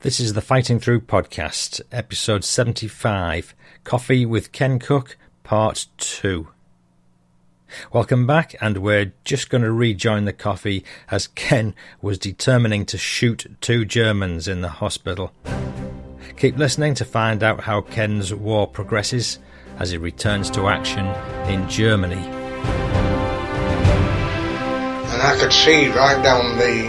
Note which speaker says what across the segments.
Speaker 1: This is the Fighting Through podcast, episode 75 Coffee with Ken Cook, part 2. Welcome back, and we're just going to rejoin the coffee as Ken was determining to shoot two Germans in the hospital. Keep listening to find out how Ken's war progresses as he returns to action in Germany.
Speaker 2: And I could see right down the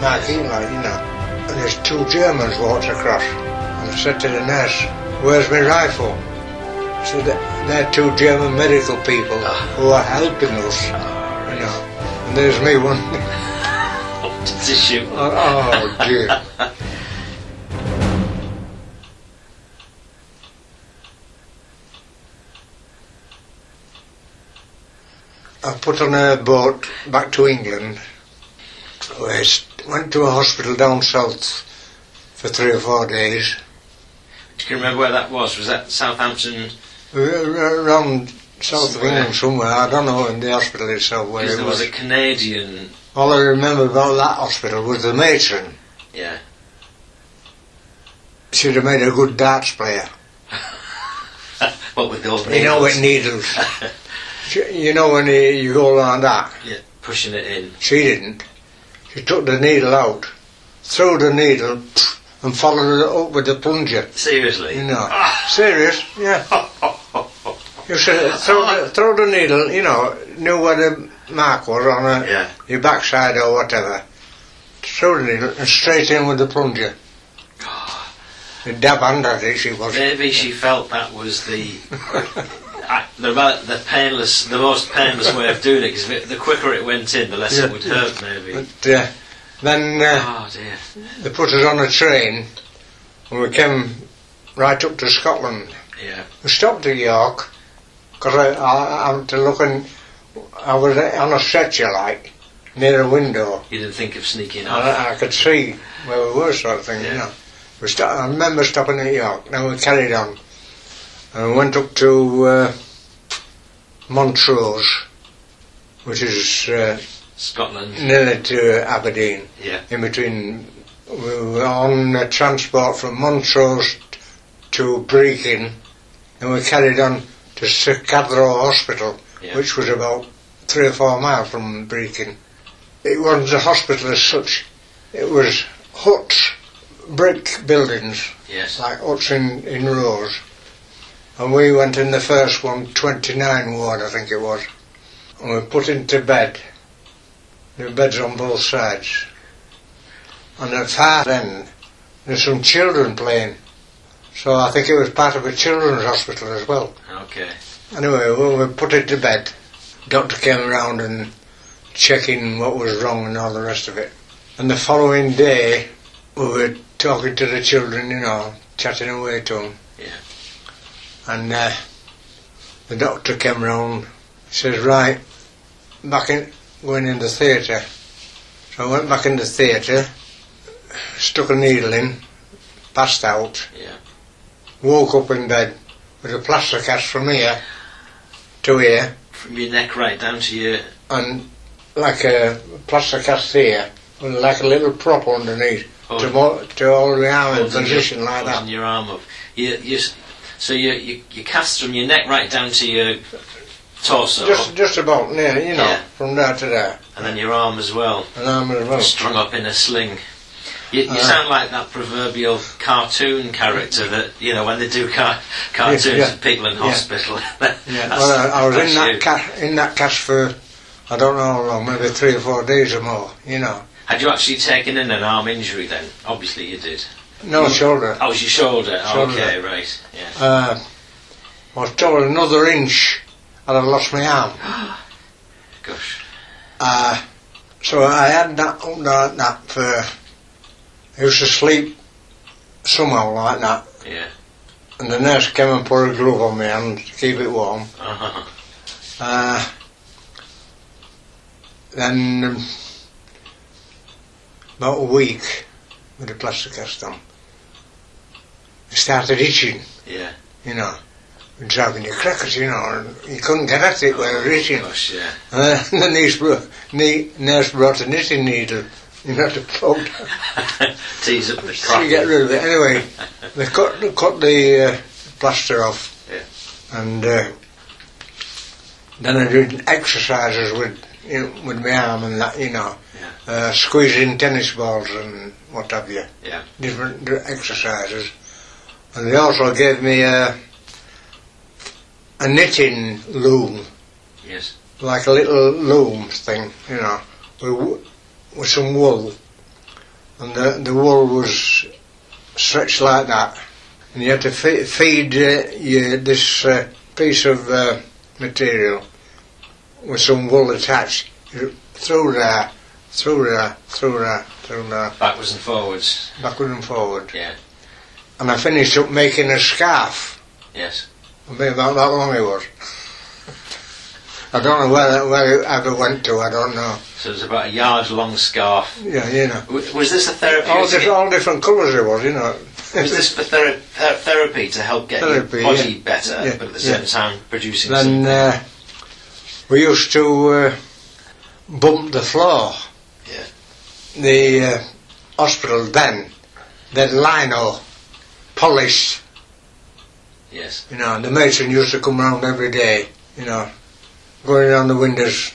Speaker 2: marquee line, you know. And there's two Germans walked across. And I said to the nurse, where's my rifle? So they're two German medical people who are helping us, you know. And there's me one.
Speaker 3: It's a shit one.
Speaker 2: oh, dear. I put on a boat back to England. I s- went to a hospital down south for three or four days.
Speaker 3: Do you remember where that was? Was that Southampton?
Speaker 2: R- r- Uh, Around south of
Speaker 3: Somewhere.
Speaker 2: England somewhere, I don't know in the hospital itself where
Speaker 3: Because
Speaker 2: it
Speaker 3: there
Speaker 2: was.
Speaker 3: was a Canadian.
Speaker 2: All I remember about that hospital was the matron.
Speaker 3: Yeah.
Speaker 2: She'd have made a good darts player.
Speaker 3: What with those
Speaker 2: You know, with
Speaker 3: needles?
Speaker 2: needles. She- you know, when you, you go like that,
Speaker 3: yeah, pushing it in.
Speaker 2: she didn't. She took the needle out, threw the needle, and followed it up with the plunger.
Speaker 3: Seriously.
Speaker 2: You know,
Speaker 3: Ah.
Speaker 2: serious, yeah. You should throw the, throw the needle, you know, knew where the mark was on a,
Speaker 3: Yeah.
Speaker 2: your backside or whatever. Throw the needle and straight in with the plunger. The dab hand at it, she was.
Speaker 3: Maybe she felt that was the uh, the ra- the painless, the most painless way of doing it. Because the quicker it went in, the less
Speaker 2: Yeah.
Speaker 3: it would hurt. Maybe.
Speaker 2: But uh, then uh,
Speaker 3: Oh dear.
Speaker 2: they put us on a train and we came right up to Scotland.
Speaker 3: Yeah.
Speaker 2: We stopped at York because I, I, I was looking, I was on a stretcher like, near a window.
Speaker 3: You didn't think of sneaking off.
Speaker 2: I, I could see where we were, sort of thing, you
Speaker 3: Yeah.
Speaker 2: know. We sto- I remember stopping at York, then we carried on. And we went up to uh, Montrose, which is uh,
Speaker 3: Scotland.
Speaker 2: nearly to Aberdeen.
Speaker 3: Yeah.
Speaker 2: In between, we were on uh, transport from Montrose to Brechin, and we carried on to Cadrow Hospital
Speaker 3: Yeah.
Speaker 2: which was about three or four miles from Brechin. It wasn't a hospital as such. It was huts, brick buildings,
Speaker 3: Yes.
Speaker 2: like huts in, in rows. And we went in the first one, 29 ward I think it was. And we were put into bed. There were beds on both sides. And at far end, there's some children playing. So I think it was part of a children's hospital as well.
Speaker 3: Okay.
Speaker 2: Anyway, we, we put it to bed. Doctor came around and checking what was wrong and all the rest of it. And the following day, we were talking to the children, you know, chatting away to them.
Speaker 3: Yeah.
Speaker 2: And uh, the doctor came round. Says, right, back in, going in the theatre. So I went back in the theatre, stuck a needle in, passed out.
Speaker 3: Yeah.
Speaker 2: Woke up in bed with a plaster cast from here to here.
Speaker 3: From your neck right down to your
Speaker 2: and like a plaster cast here, with like a little prop underneath
Speaker 3: Oh.
Speaker 2: to, mo- to hold the arm in
Speaker 3: Holding
Speaker 2: position
Speaker 3: your-
Speaker 2: like
Speaker 3: holding
Speaker 2: that.
Speaker 3: your arm up. You, you, s- so you, you, you cast from your neck right down to your torso,
Speaker 2: Just just about near, you know,
Speaker 3: Yeah.
Speaker 2: from there to there,
Speaker 3: and then your arm as well,
Speaker 2: an arm as well.
Speaker 3: strung up in a sling. You, you
Speaker 2: Oh. Uh.
Speaker 3: sound like that proverbial cartoon character that you know when they do car- cartoons
Speaker 2: yeah.
Speaker 3: of people in
Speaker 2: Yeah.
Speaker 3: hospital. That's-
Speaker 2: well, I, I was
Speaker 3: that's
Speaker 2: in that
Speaker 3: you.
Speaker 2: cast, in that cast for I don't know how long, maybe three or four days or more, you know.
Speaker 3: Had you actually taken in an arm injury then? Obviously you did.
Speaker 2: No
Speaker 3: Mm.
Speaker 2: shoulder.
Speaker 3: Oh, it was your shoulder. Oh,
Speaker 2: Shoulder.
Speaker 3: Okay, right. Yeah.
Speaker 2: Uh, I was told another inch, and I lost my arm.
Speaker 3: Gosh.
Speaker 2: Uh, so I had that up like that for. I used to sleep somehow like that.
Speaker 3: Yeah.
Speaker 2: And the nurse came and put a glove on my hand to keep it warm.
Speaker 3: Uh-huh.
Speaker 2: Uh, then um, about a week with the plaster cast on, it started itching,
Speaker 3: Yeah.
Speaker 2: you know. Driving your crackers, you know, and you couldn't get at it without itching.
Speaker 3: Gosh. Yeah.
Speaker 2: And then the nurse brought, the nurse brought a knitting needle, You have to fold
Speaker 3: Tease up the
Speaker 2: So you get
Speaker 3: crack.
Speaker 2: rid of it. Anyway, they cut cut the uh, plaster off,
Speaker 3: Yeah.
Speaker 2: and uh, then I did exercises with you know, with my arm and that, you know,
Speaker 3: Yeah.
Speaker 2: uh, squeezing tennis balls and what have you,
Speaker 3: Yeah.
Speaker 2: different d- exercises. And they also gave me a, a knitting loom,
Speaker 3: Yes.
Speaker 2: like a little loom thing, you know, with, wo- with some wool. And the, the wool was stretched like that. And you had to fe- feed uh, you this uh, piece of uh, material with some wool attached You- through there, through there, through there, through there,
Speaker 3: Backwards and forwards.
Speaker 2: backward and forward.
Speaker 3: Yeah.
Speaker 2: And I finished up making a scarf.
Speaker 3: Yes.
Speaker 2: I mean, about that long it was. I don't know where, where it ever went to, I don't know.
Speaker 3: So it was about a yard long scarf.
Speaker 2: Yeah, you know.
Speaker 3: W- Was this a
Speaker 2: All
Speaker 3: therapeutic?
Speaker 2: different, Oh, all different colours it was, you know.
Speaker 3: Was this for thera- ther- therapy to help get
Speaker 2: Therapy,
Speaker 3: your body
Speaker 2: yeah.
Speaker 3: better,
Speaker 2: Yeah,
Speaker 3: but at the same
Speaker 2: yeah.
Speaker 3: time producing
Speaker 2: then uh, we used to uh, bump the floor.
Speaker 3: Yeah.
Speaker 2: The uh, hospital then, then lino, polish,
Speaker 3: some? Yes.
Speaker 2: you know, and the matron used to come round every day, you know, going around the windows,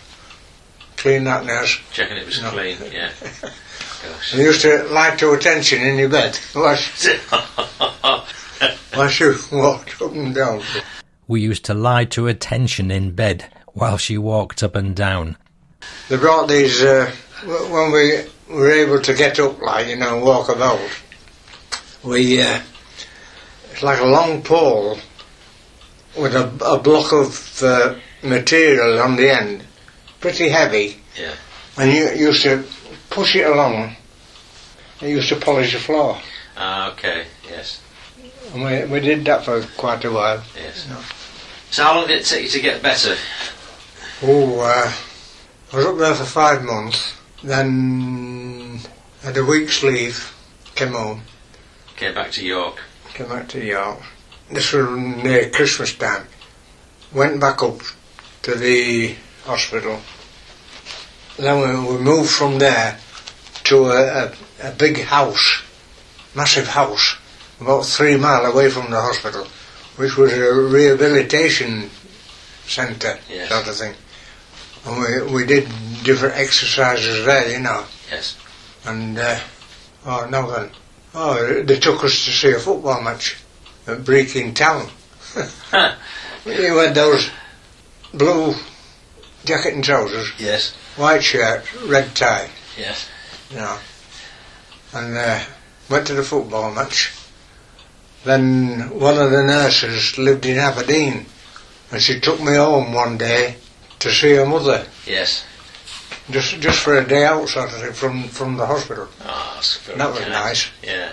Speaker 2: clean that nurse.
Speaker 3: Checking it was
Speaker 2: No.
Speaker 3: clean. Yeah.
Speaker 2: And used to light your attention in your bed. Wash
Speaker 3: Gosh.
Speaker 2: My shoe walked up and down.
Speaker 1: We used to lie to her tension in bed while she walked up and down.
Speaker 2: They brought these uh, w- when we were able to get up, like you know, walk about. We uh, it's like a long pole with a, a block of uh, material on the end, pretty heavy.
Speaker 3: Yeah.
Speaker 2: And you used to push it along. It used to polish the floor,
Speaker 3: Ah, okay. Yes.
Speaker 2: and we we did that for quite a while.
Speaker 3: Yes.
Speaker 2: No.
Speaker 3: So how long did it take you to get better?
Speaker 2: Oh, uh, I was up there for five months. Then had a week's leave. Came home.
Speaker 3: Came back to York.
Speaker 2: Came back to York. This was near Christmas time. Went back up to the hospital. Then we, we moved from there to a, a, a big house, massive house, about three mile away from the hospital, which was a rehabilitation centre
Speaker 3: Yes.
Speaker 2: sort of thing. And we, we did different exercises there, you know.
Speaker 3: Yes.
Speaker 2: And uh, oh, no then. Oh, they took us to see a football match at Breaking Town. he had those blue jacket and trousers,
Speaker 3: Yes.
Speaker 2: white shirt, red tie,
Speaker 3: Yes.
Speaker 2: you know. And uh, went to the football match. Then one of the nurses lived in Aberdeen, and she took me home one day to see her mother,
Speaker 3: Yes.
Speaker 2: just just for a day out, sort of thing, from from the hospital.
Speaker 3: Ah, that's very
Speaker 2: That was
Speaker 3: kind.
Speaker 2: nice.
Speaker 3: Yeah.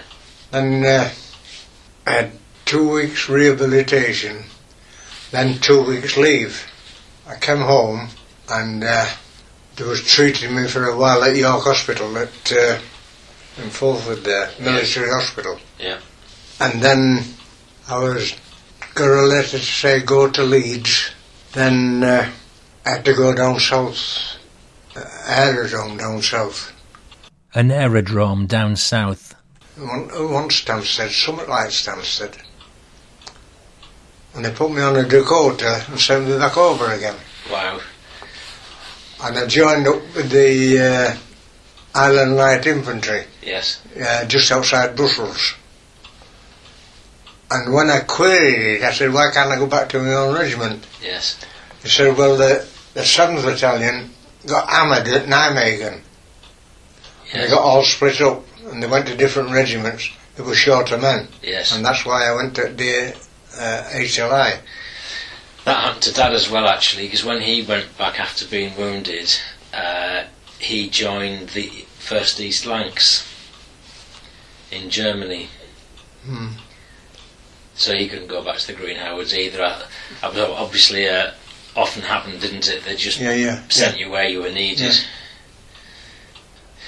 Speaker 2: Then uh, I had two weeks rehabilitation, then two weeks leave. I came home and uh, they was treating me for a while at York Hospital at uh, in Fulford there, military hospital.
Speaker 3: Yeah.
Speaker 2: And then I was got a letter to say go to Leeds. Then uh, I had to go down south, uh, aerodrome down south.
Speaker 1: An aerodrome down south.
Speaker 2: One, uh, one Stansted, something like Stansted. And they put me on a Dakota and sent me back over again.
Speaker 3: Wow.
Speaker 2: And I joined up with the uh, Island Light Infantry
Speaker 3: Yes.
Speaker 2: uh, just outside Brussels. And when I queried it, I said, why can't I go back to my own regiment?
Speaker 3: Yes.
Speaker 2: He said, well, the, the 7th Battalion got hammered at Nijmegen. They
Speaker 3: Yes.
Speaker 2: got all split up and they went to different regiments. It was short of men.
Speaker 3: Yes.
Speaker 2: And that's why I went to the uh, HLI.
Speaker 3: That happened to Dad as well, actually, because when he went back after being wounded, uh, he joined the First East Lanks in Germany,
Speaker 2: Hmm.
Speaker 3: so he couldn't go back to the Green Howards either. I, I was- obviously, uh, often happened, didn't it? They just
Speaker 2: Yeah, yeah.
Speaker 3: sent you where you were needed.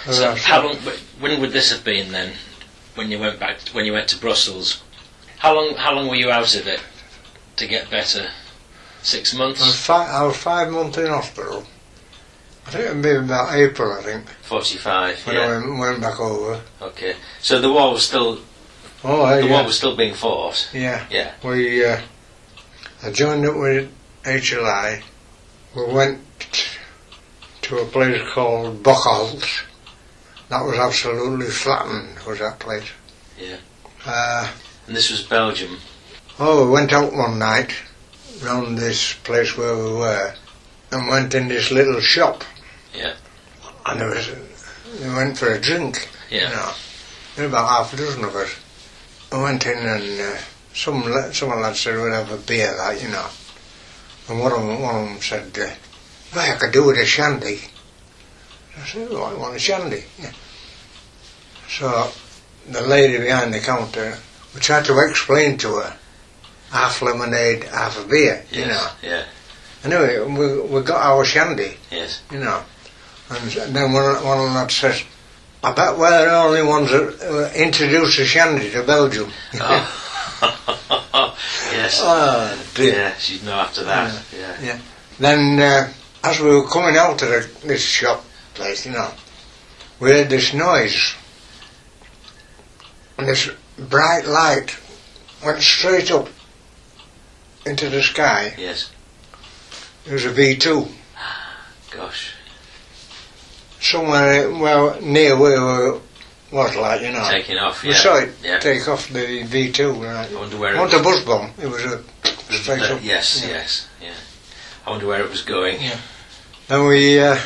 Speaker 2: yeah.
Speaker 3: So
Speaker 2: Right.
Speaker 3: how long? wh- When would this have been then? When you went back? When you went to Brussels? How long? How long were you out of it to get better? Six
Speaker 2: I was,
Speaker 3: months.
Speaker 2: fi- I was five months in hospital. I think it'd been about April, I think,
Speaker 3: 45,
Speaker 2: when
Speaker 3: yeah.
Speaker 2: I went, went back over.
Speaker 3: Okay. So the war was still
Speaker 2: Oh, I,
Speaker 3: the war
Speaker 2: yeah.
Speaker 3: was still being fought.
Speaker 2: yeah.
Speaker 3: Yeah.
Speaker 2: We, uh, I joined up with HLI. We went to a place called Bockholt. That was absolutely flattened, was that place.
Speaker 3: Yeah.
Speaker 2: Uh,
Speaker 3: And this was Belgium.
Speaker 2: Oh, we went out one night round this place where we were and went in this little shop.
Speaker 3: Yeah.
Speaker 2: And there was, we went for a drink.
Speaker 3: Yeah.
Speaker 2: You know. There were about half a dozen of us. I went in and uh, some la- some lad said we'll have a beer, like, you know. And one of them, one of them said, uh, "Well, I could do with a shandy. I said, well, I want a shandy. Yeah. So the lady behind the counter, we tried to explain to her half lemonade, half a beer, you know.
Speaker 3: Yes. Yeah.
Speaker 2: Anyway, we, we got our shandy,
Speaker 3: Yes.
Speaker 2: you know. And then one, one of them says, I bet we're the only ones that uh, introduced the shandy to Belgium.
Speaker 3: Oh. yes.
Speaker 2: Oh, dear.
Speaker 3: Yeah, she'd know after that. Yeah.
Speaker 2: Then, uh, as we were coming out of the, this shop place, you know, we heard this noise. And this bright light went straight up into the sky.
Speaker 3: Yes.
Speaker 2: It was a V2.
Speaker 3: Gosh.
Speaker 2: Somewhere, well, near where we was, like, you know.
Speaker 3: Taking off.
Speaker 2: We
Speaker 3: Yeah.
Speaker 2: saw it
Speaker 3: Yeah.
Speaker 2: take off the V2, right?
Speaker 3: I wonder where it
Speaker 2: Not
Speaker 3: was.
Speaker 2: a bus bomb, it was a straight
Speaker 3: Uh,
Speaker 2: up.
Speaker 3: yes.
Speaker 2: Yeah.
Speaker 3: Yes. Yeah. I wonder where it was going.
Speaker 2: Yeah. Then we uh,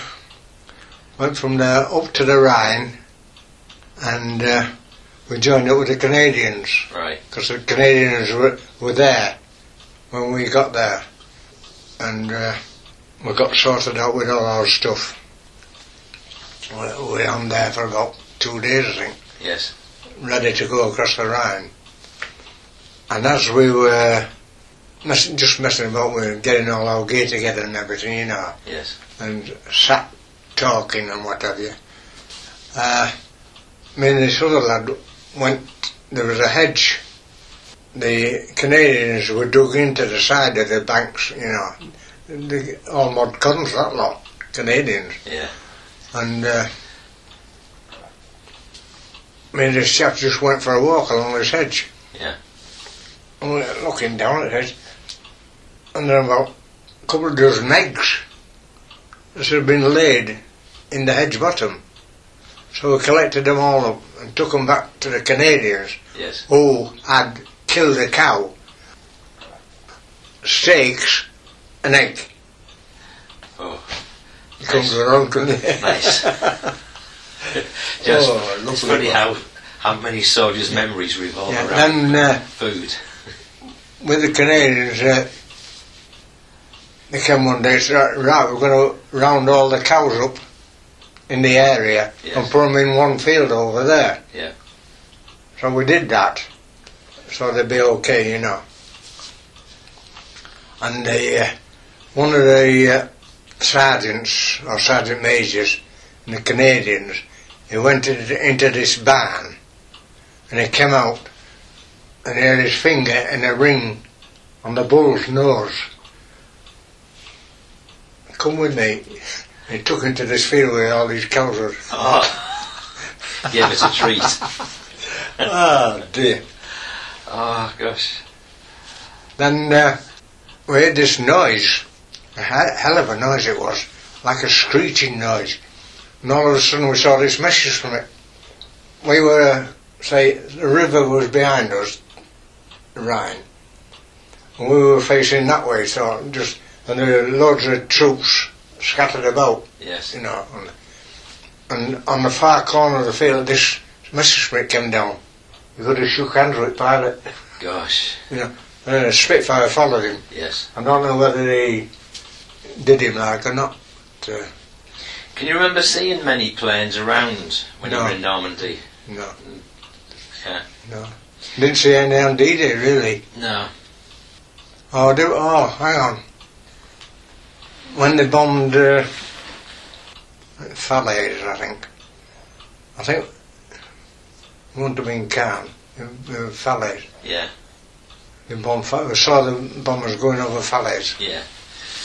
Speaker 2: went from there up to the Rhine and uh, we joined up with the Canadians
Speaker 3: Right.
Speaker 2: because the Canadians were, were there when we got there and uh, we got sorted out with all our stuff. We we were on there for about two days, I think
Speaker 3: Yes.
Speaker 2: ready to go across the Rhine. And as we were mess- just messing about with getting all our gear together and everything, you know,
Speaker 3: Yes.
Speaker 2: and sat talking and what have you, uh, me and this other lad went, there was a hedge. The Canadians were dug into the side of the banks, you know. The, all mud guns, that lot, Canadians.
Speaker 3: Yeah.
Speaker 2: And uh, me and this chap just went for a walk along this hedge.
Speaker 3: Yeah.
Speaker 2: And we're looking down at it. And there were about a couple of dozen eggs that had been laid in the hedge bottom. So we collected them all up and took them back to the Canadians
Speaker 3: Yes.
Speaker 2: who had killed a cow. Steaks, an egg.
Speaker 3: Oh.
Speaker 2: Comes around, couldn't it?
Speaker 3: Nice. Just,
Speaker 2: Oh,
Speaker 3: it's
Speaker 2: lovely
Speaker 3: funny
Speaker 2: one.
Speaker 3: how how many soldiers' memories revolve
Speaker 2: Yeah,
Speaker 3: around
Speaker 2: then uh,
Speaker 3: food.
Speaker 2: with the Canadians, uh, they came one day and said, right, we're going to round all the cows up in the area
Speaker 3: Yes.
Speaker 2: and put them in one field over there.
Speaker 3: Yeah.
Speaker 2: So we did that, so they'd be okay, you know. And they, uh, one of the uh, sergeants, or sergeant majors, in the Canadians, he went into into this barn and he came out and he had his finger in a ring on the bull's nose. Come with me. He took him to this field where all these cows were.
Speaker 3: Oh. Give us a treat.
Speaker 2: Ah, dear. Ah,
Speaker 3: Oh gosh.
Speaker 2: Then uh, we heard this noise, a he- hell of a noise it was, like a screeching noise. And all of a sudden we saw this message from it. We were, uh, say, the river was behind us, the Rhine. And we were facing that way, so just, and there were loads of troops scattered about,
Speaker 3: Yes.
Speaker 2: you know. And, and on the far corner of the field, this message from it came down. We could have shook hands with Pilot.
Speaker 3: Gosh.
Speaker 2: And a Uh, Spitfire followed him.
Speaker 3: Yes.
Speaker 2: I don't know whether they did him like or not. Uh,
Speaker 3: Can you remember seeing many planes around when you
Speaker 2: No.
Speaker 3: were in Normandy?
Speaker 2: no.
Speaker 3: Yeah.
Speaker 2: No. Didn't see any on D-Day, really.
Speaker 3: No.
Speaker 2: Oh, do, oh, hang on. When they bombed uh, Falaise, I think. I think it wouldn't have been Cannes. It, it was Falaise.
Speaker 3: Yeah.
Speaker 2: They bombed, Fa- we saw the bombers going over Falaise
Speaker 3: Yeah.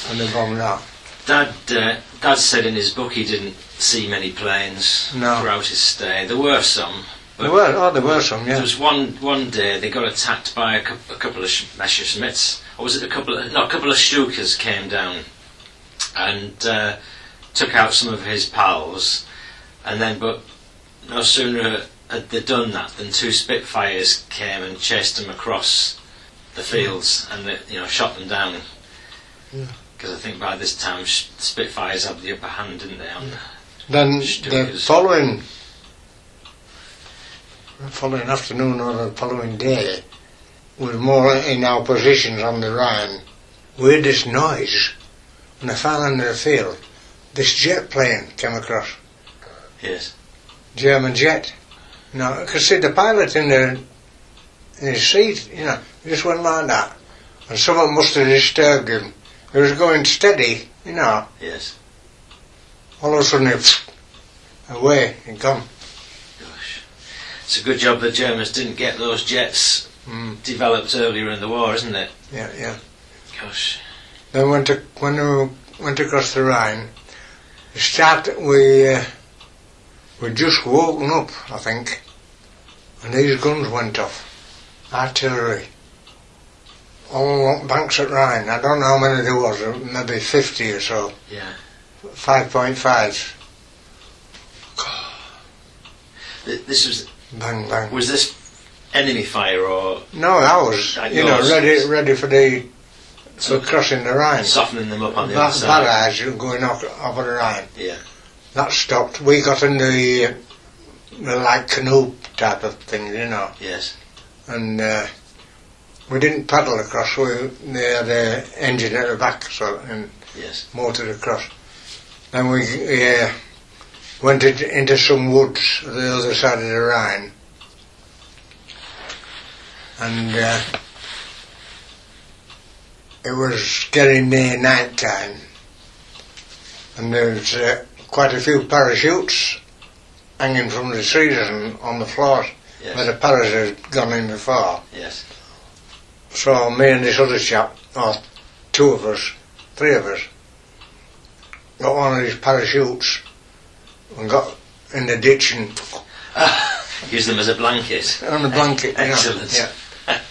Speaker 2: and they bombed that.
Speaker 3: Dad, uh, Dad said in his book he didn't see many planes
Speaker 2: No.
Speaker 3: throughout his stay. There were some. But
Speaker 2: There were, oh, there were some,
Speaker 3: There
Speaker 2: yeah.
Speaker 3: was one one day they got attacked by a, cou- a couple of sh- Messerschmitts, or was it a couple? Of, no, a couple of Stukas came down and uh, took out some of his pals, and then but no sooner had they done that than two Spitfires came and chased them across the fields and they, you know shot them down.
Speaker 2: Hmm. Yeah.
Speaker 3: Because I think by this time sh- Spitfires had the upper hand, didn't they? On
Speaker 2: Then the
Speaker 3: Stukas.
Speaker 2: following, the following afternoon or the following day, was more in our positions on the Rhine. We heard this noise on the far end of the field. This jet plane came across,
Speaker 3: Yes.
Speaker 2: German jet. Now, I could see the pilot in the in his seat, you know, he just went like that. And someone must have disturbed him. He was going steady, you know.
Speaker 3: Yes.
Speaker 2: All of a sudden, it away and gone.
Speaker 3: Gosh. It's a good job the Germans didn't get those jets
Speaker 2: Mm.
Speaker 3: developed earlier in the war, isn't it?
Speaker 2: Yeah, yeah.
Speaker 3: Gosh.
Speaker 2: Then went to, when we went across the Rhine, we start we uh, we just woken up, I think, and these guns went off, artillery, all along banks at Rhine. I don't know how many there was, uh, maybe fifty or so,
Speaker 3: Yeah.
Speaker 2: five point five.
Speaker 3: Th- This was
Speaker 2: Bang bang.
Speaker 3: was this enemy fire or
Speaker 2: No, ours.
Speaker 3: Like
Speaker 2: You know,
Speaker 3: yours.
Speaker 2: ready, ready for the for
Speaker 3: So-
Speaker 2: crossing the Rhine.
Speaker 3: softening them up on the other
Speaker 2: That
Speaker 3: side?
Speaker 2: barrage going off over the Rhine.
Speaker 3: Yeah.
Speaker 2: That stopped. We got in the, uh, the like canoe type of thing, you know,
Speaker 3: Yes.
Speaker 2: and uh, we didn't paddle across. We they had an engine at the back, so and
Speaker 3: Yes.
Speaker 2: motored across. Then we uh, went in- into some woods at the other side of the Rhine, and uh, it was getting near night time, and there was uh, quite a few parachutes hanging from the trees and on the floor
Speaker 3: Yes.
Speaker 2: where the parachute had gone in before.
Speaker 3: yes.
Speaker 2: So me and this other chap, or two of us, three of us, got one of these parachutes and got in the ditch and
Speaker 3: Use them as a blanket.
Speaker 2: on the blanket. you know,
Speaker 3: Excellent.
Speaker 2: Yeah.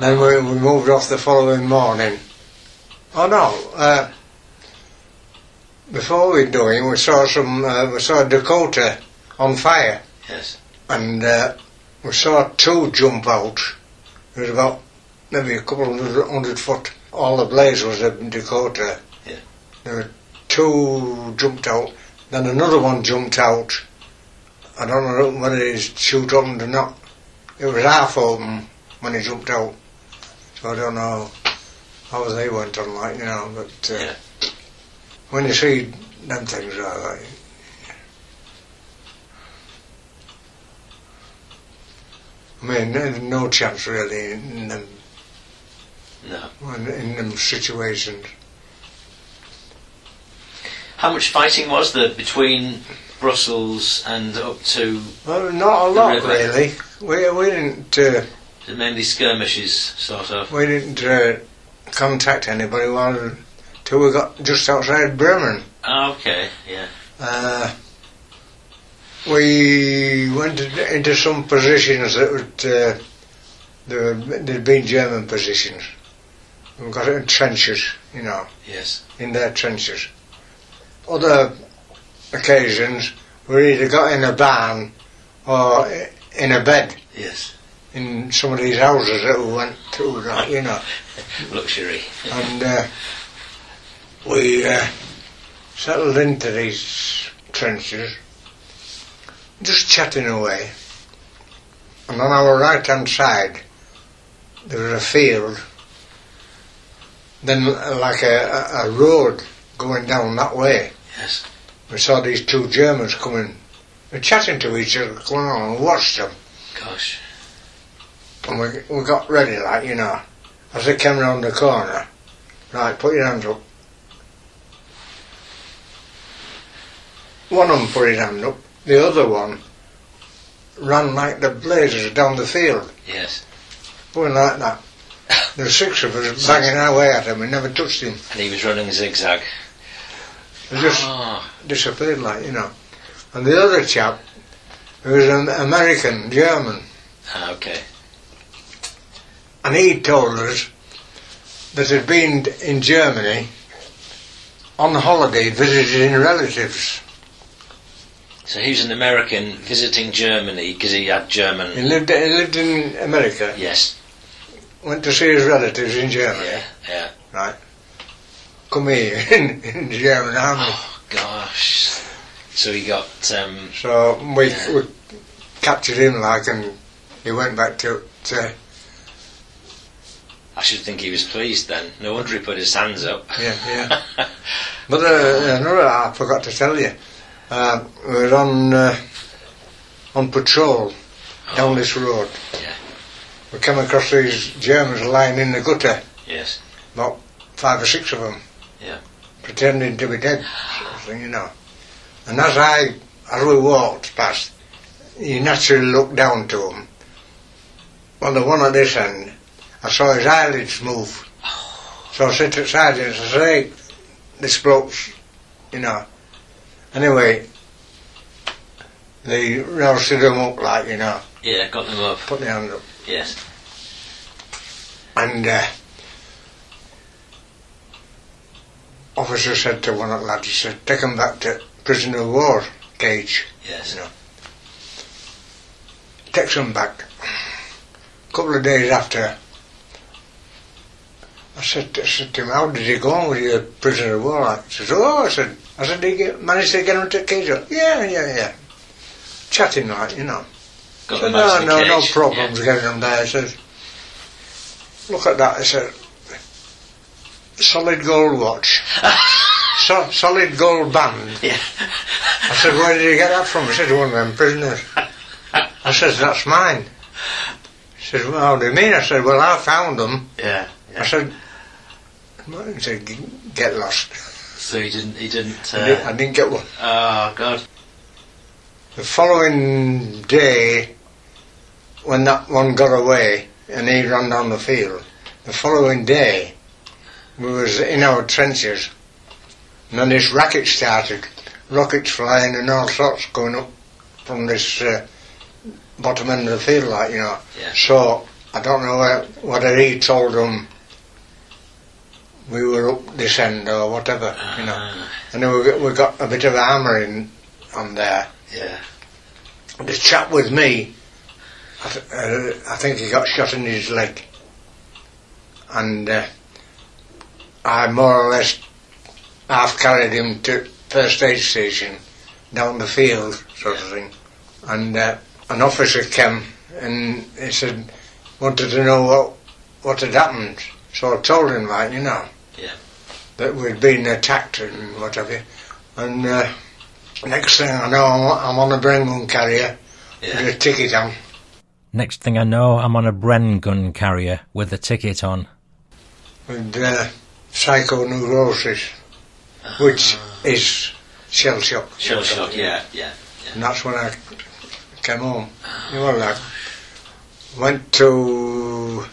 Speaker 2: Then we, we moved off the following morning. Oh no, uh, before we doing, we saw some, uh, we saw Dakota on fire
Speaker 3: Yes.
Speaker 2: and uh, we saw two jump out. It was about maybe a couple of hundred, hundred foot. All ablaze was a Dakota.
Speaker 3: Yeah.
Speaker 2: There were two jumped out. Then another one jumped out. I don't know whether he shoot on or not. It was half open when he jumped out. So I don't know how they went on like, you know, but uh,
Speaker 3: Yeah.
Speaker 2: when you see them things like that, I mean, there's no chance really in them
Speaker 3: No.
Speaker 2: in, in them situations.
Speaker 3: How much fighting was there between Brussels and up to
Speaker 2: Well, not a
Speaker 3: The
Speaker 2: lot
Speaker 3: river.
Speaker 2: really. We we didn't uh,
Speaker 3: mainly skirmishes, sort of?
Speaker 2: we didn't uh, contact anybody while till we got just outside Bremen.
Speaker 3: Ah, okay. Yeah.
Speaker 2: Uh, we went in- into some positions that would uh, there were- there'd been German positions. We got in trenches, you know.
Speaker 3: Yes.
Speaker 2: in their trenches. Other occasions, we either got in a barn or i- in a bed
Speaker 3: Yes.
Speaker 2: in some of these houses that we went through, like, you know.
Speaker 3: Luxury.
Speaker 2: And uh, we uh, settled into these trenches, just chatting away. And on our right hand side, there was a field, then l- like a, a, a road going down that way.
Speaker 3: Yes.
Speaker 2: We saw these two Germans coming, they're chatting to each other, coming on and watched them.
Speaker 3: Gosh.
Speaker 2: And we, we got ready, like, you know. As they came round the corner, right, put your hands up. One of them put his hand up, the other one ran like the blazes down the field,
Speaker 3: Yes.
Speaker 2: going like that. There were six of us banging our way at him, we never touched him.
Speaker 3: And he was running zigzag.
Speaker 2: They just
Speaker 3: Ah,
Speaker 2: disappeared, like, you know. And the other chap, who was an American, German,
Speaker 3: ah, okay.
Speaker 2: and he told us that he'd been in Germany on holiday visiting relatives.
Speaker 3: So he was an American visiting Germany because he had German.
Speaker 2: He lived, he lived in America,
Speaker 3: Yes.
Speaker 2: went to see his relatives in Germany,
Speaker 3: Yeah. Yeah.
Speaker 2: come here in, in the German army.
Speaker 3: Oh gosh. So he got. Um,
Speaker 2: So we,
Speaker 3: Yeah.
Speaker 2: we captured him like and he went back to, to
Speaker 3: I should think he was pleased then. No wonder he put his hands up.
Speaker 2: Yeah, yeah. But uh, another, I forgot to tell you, uh, we were on uh, on patrol down this road.
Speaker 3: Yeah.
Speaker 2: We came across these Germans lying in the gutter,
Speaker 3: yes.
Speaker 2: five or six of them,
Speaker 3: Yeah.
Speaker 2: pretending to be dead, sort of thing, you know. And as I as we walked past, you naturally looked down to them. Well, the one at this end, I saw his eyelids move. So I said to Sergeant, I said, hey, this bloke's, you know. Anyway, they rousted him up, like, you know,
Speaker 3: Yeah. Got them up.
Speaker 2: put the hand up.
Speaker 3: Yes.
Speaker 2: And uh, officer said to one of the lads, he said, take him back to prisoner of war cage.
Speaker 3: Yes.
Speaker 2: takes them back. A couple of days after, I said, I said to him, how did he go on with your prisoner of war? I said, oh, I said, I said, did he get, manage to get him to cage? Yeah, yeah, yeah. Chatting like, you know.
Speaker 3: Got
Speaker 2: So
Speaker 3: them
Speaker 2: no,
Speaker 3: out of the
Speaker 2: no, no
Speaker 3: cage.
Speaker 2: problems getting them there. I said, look at that. I said, solid gold watch. so, solid gold band.
Speaker 3: Yeah.
Speaker 2: I said, where did you get that from? He said, one of them prisoners. I says, that's mine. He says, well, how do you mean? I said, well, I found them.
Speaker 3: yeah.
Speaker 2: I said, well, he said, "G- get lost.
Speaker 3: So he didn't. He didn't.
Speaker 2: I, didn't,
Speaker 3: Uh,
Speaker 2: I didn't get one.
Speaker 3: oh God.
Speaker 2: The following day, when that one got away and he ran down the field, the following day, we was in our trenches, and then this racket started, rockets flying and all sorts going up from this uh, bottom end of the field, like you know.
Speaker 3: Yeah.
Speaker 2: So I don't know where, whether he told them we were up this end or whatever, you know.
Speaker 3: Ah,
Speaker 2: And then we got, we got a bit of hammering on there
Speaker 3: yeah.
Speaker 2: the chap with me, I, th- uh, I think he got shot in his leg. And uh, I more or less half carried him to first aid station down the field, sort of thing. And uh, an officer came and he said, wanted to know what, what had happened. So I told him, like, you know,
Speaker 3: Yeah.
Speaker 2: that we'd been attacked and what have you. And uh, next thing I know, I'm, I'm on a Brengun carrier
Speaker 3: Yeah.
Speaker 2: with a ticket on.
Speaker 1: Next thing I know, I'm on a Bren gun carrier with a ticket on.
Speaker 2: with uh, psychoneurosis,
Speaker 3: Ah.
Speaker 2: which is shell shock.
Speaker 3: Shell shock. Yeah. Yeah.
Speaker 2: And that's when I came home. You know, like, went to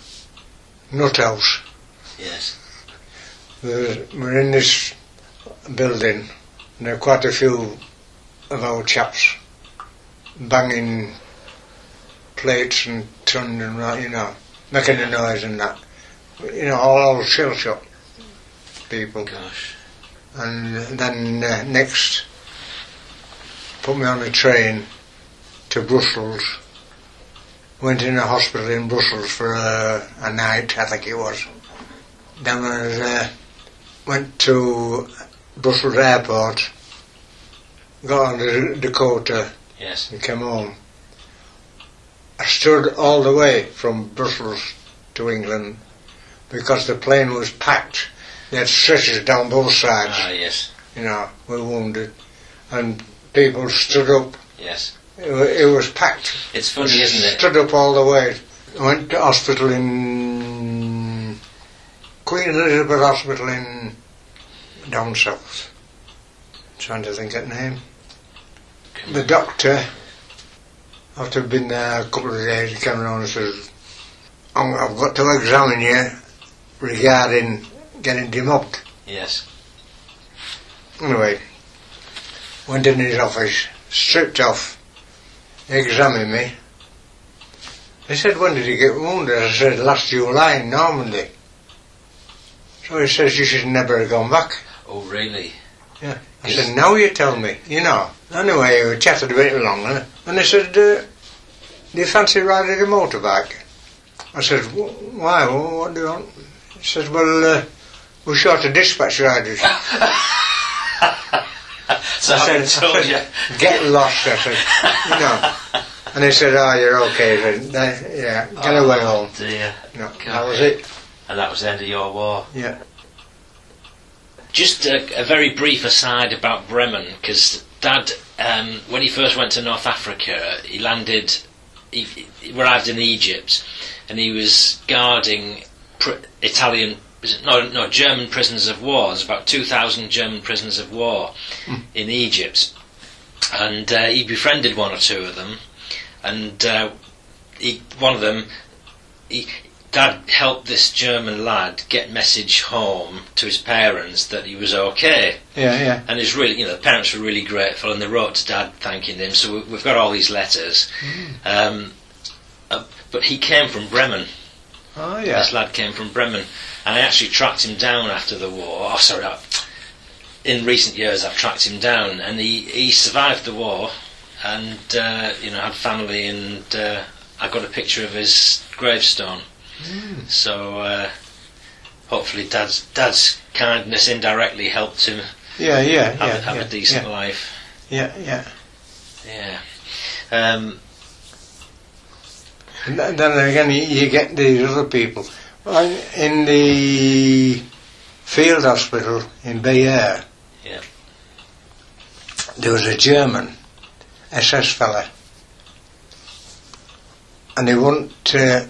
Speaker 2: Nut House.
Speaker 3: Yes.
Speaker 2: There- We're in this building, and there are quite a few of our chaps banging plates and turning and right, you know, making a noise and that. You know, all old shell shock people.
Speaker 3: Gosh.
Speaker 2: and then uh, next put me on a train to Brussels. Went in a hospital in Brussels for uh, a night, I think it was. Then I was, uh, went to Brussels airport, got on the Dakota
Speaker 3: Yes.
Speaker 2: and came home. I stood all the way from Brussels to England because the plane was packed. They had stretchers down both sides
Speaker 3: Ah. Yes.
Speaker 2: you know, were wounded, and people stood up.
Speaker 3: Yes.
Speaker 2: It, wa- it was packed.
Speaker 3: It's funny, isn't it?
Speaker 2: Stood up all the way. I went to hospital in Queen Elizabeth Hospital in down south. Trying to think of the name. The doctor, after being there a couple of days, he came around and says, "I'm- "I've got to examine you regarding getting demobbed."
Speaker 3: Yes.
Speaker 2: Anyway, went in his office, stripped off, examined me. He said, when did you get wounded? I said, last July in Normandy. So he says, you should never have gone back.
Speaker 3: Oh, really?
Speaker 2: I said, now you tell me, you know. Anyway, we chatted a bit longer, and he said, uh, do you fancy riding a motorbike? I said, "Wh- why, Wh- what do you want? He says, well, uh, we're short of dispatch riders.
Speaker 3: So I
Speaker 2: I
Speaker 3: haven't
Speaker 2: said,
Speaker 3: told you.
Speaker 2: Get lost, I said, you know. And he said, oh, you're okay, then. Then, yeah, get
Speaker 3: Oh.
Speaker 2: away home.
Speaker 3: Dear.
Speaker 2: No, that
Speaker 3: God.
Speaker 2: was it,
Speaker 3: And that was the end of your war.
Speaker 2: yeah.
Speaker 3: Just a, a very brief aside about Bremen, because Dad, um, when he first went to North Africa, he landed, he, he arrived in Egypt, and he was guarding pr- Italian, was it- no, no, German prisoners of war. There's about 2,000 German prisoners of war in Egypt, and uh, he befriended one or two of them, and uh, he, one of them, he, Dad helped this German lad get message home to his parents that he was okay,
Speaker 2: Yeah, yeah.
Speaker 3: and it's really, you know, the parents were really grateful, and they wrote to Dad thanking him. So we, we've got all these letters, um, uh, but he came from Bremen.
Speaker 2: Oh, yeah.
Speaker 3: This lad came from Bremen, and I actually tracked him down after the war. Oh, sorry, I, in recent years I've tracked him down, and he, he survived the war, and uh, you know had family, and uh, I got a picture of his gravestone. So uh, hopefully, Dad's Dad's kindness indirectly helped him
Speaker 2: Yeah, yeah,
Speaker 3: have,
Speaker 2: yeah.
Speaker 3: have
Speaker 2: yeah,
Speaker 3: a decent life.
Speaker 2: Yeah, yeah. yeah.
Speaker 3: Yeah. Um,
Speaker 2: And th- then again, you, you get these other people. Well, In the field hospital in Bayer,
Speaker 3: Yeah.
Speaker 2: there was a German SS fella, and he wouldn't uh,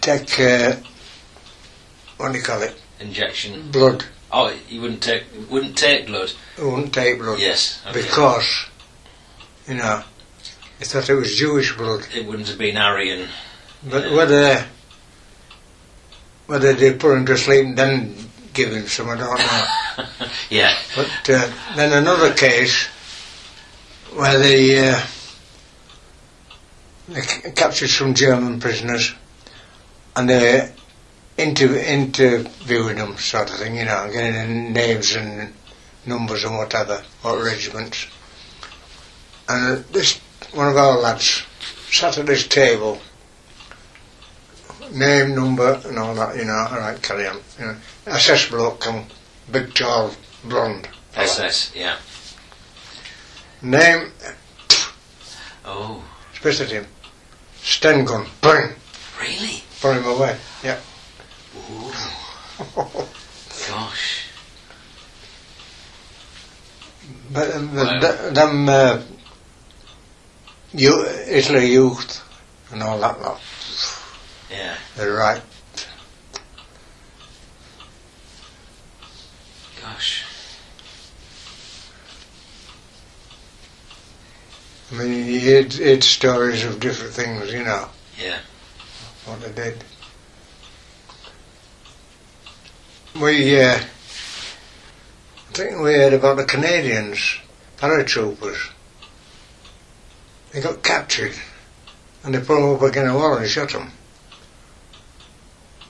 Speaker 2: take uh, what do you call it?
Speaker 3: injection.
Speaker 2: Blood.
Speaker 3: Oh, he wouldn't take wouldn't take blood.
Speaker 2: He wouldn't take blood
Speaker 3: Yes. okay.
Speaker 2: because you know he thought it was Jewish blood.
Speaker 3: it wouldn't have been Aryan.
Speaker 2: But whether whether they put him to sleep and then give him some, I don't know.
Speaker 3: Yeah.
Speaker 2: But uh, then another case where they, uh, they c- captured some German prisoners and they inter- interviewing them, sort of thing, you know, getting their names and numbers and whatever, what regiments. And uh, this one of our lads sat at this table, name, number, and all that, you know, all right, carry on. You know, SS bloke, come, big, tall, blonde. fella.
Speaker 3: SS. Yeah.
Speaker 2: Name,
Speaker 3: Oh,
Speaker 2: spit at him. Sten gun, bang,
Speaker 3: really?
Speaker 2: put him away. Yeah.
Speaker 3: Ooh, gosh.
Speaker 2: but um, but
Speaker 3: Wow.
Speaker 2: th- them, uh, you, Italy youth and all that lot,
Speaker 3: Yeah.
Speaker 2: they're right.
Speaker 3: Gosh.
Speaker 2: I mean, you heard, heard stories of different things, you know,
Speaker 3: Yeah.
Speaker 2: what they did. We, uh, I think we heard about the Canadians, paratroopers. They got captured and they put them up against a wall and shot them.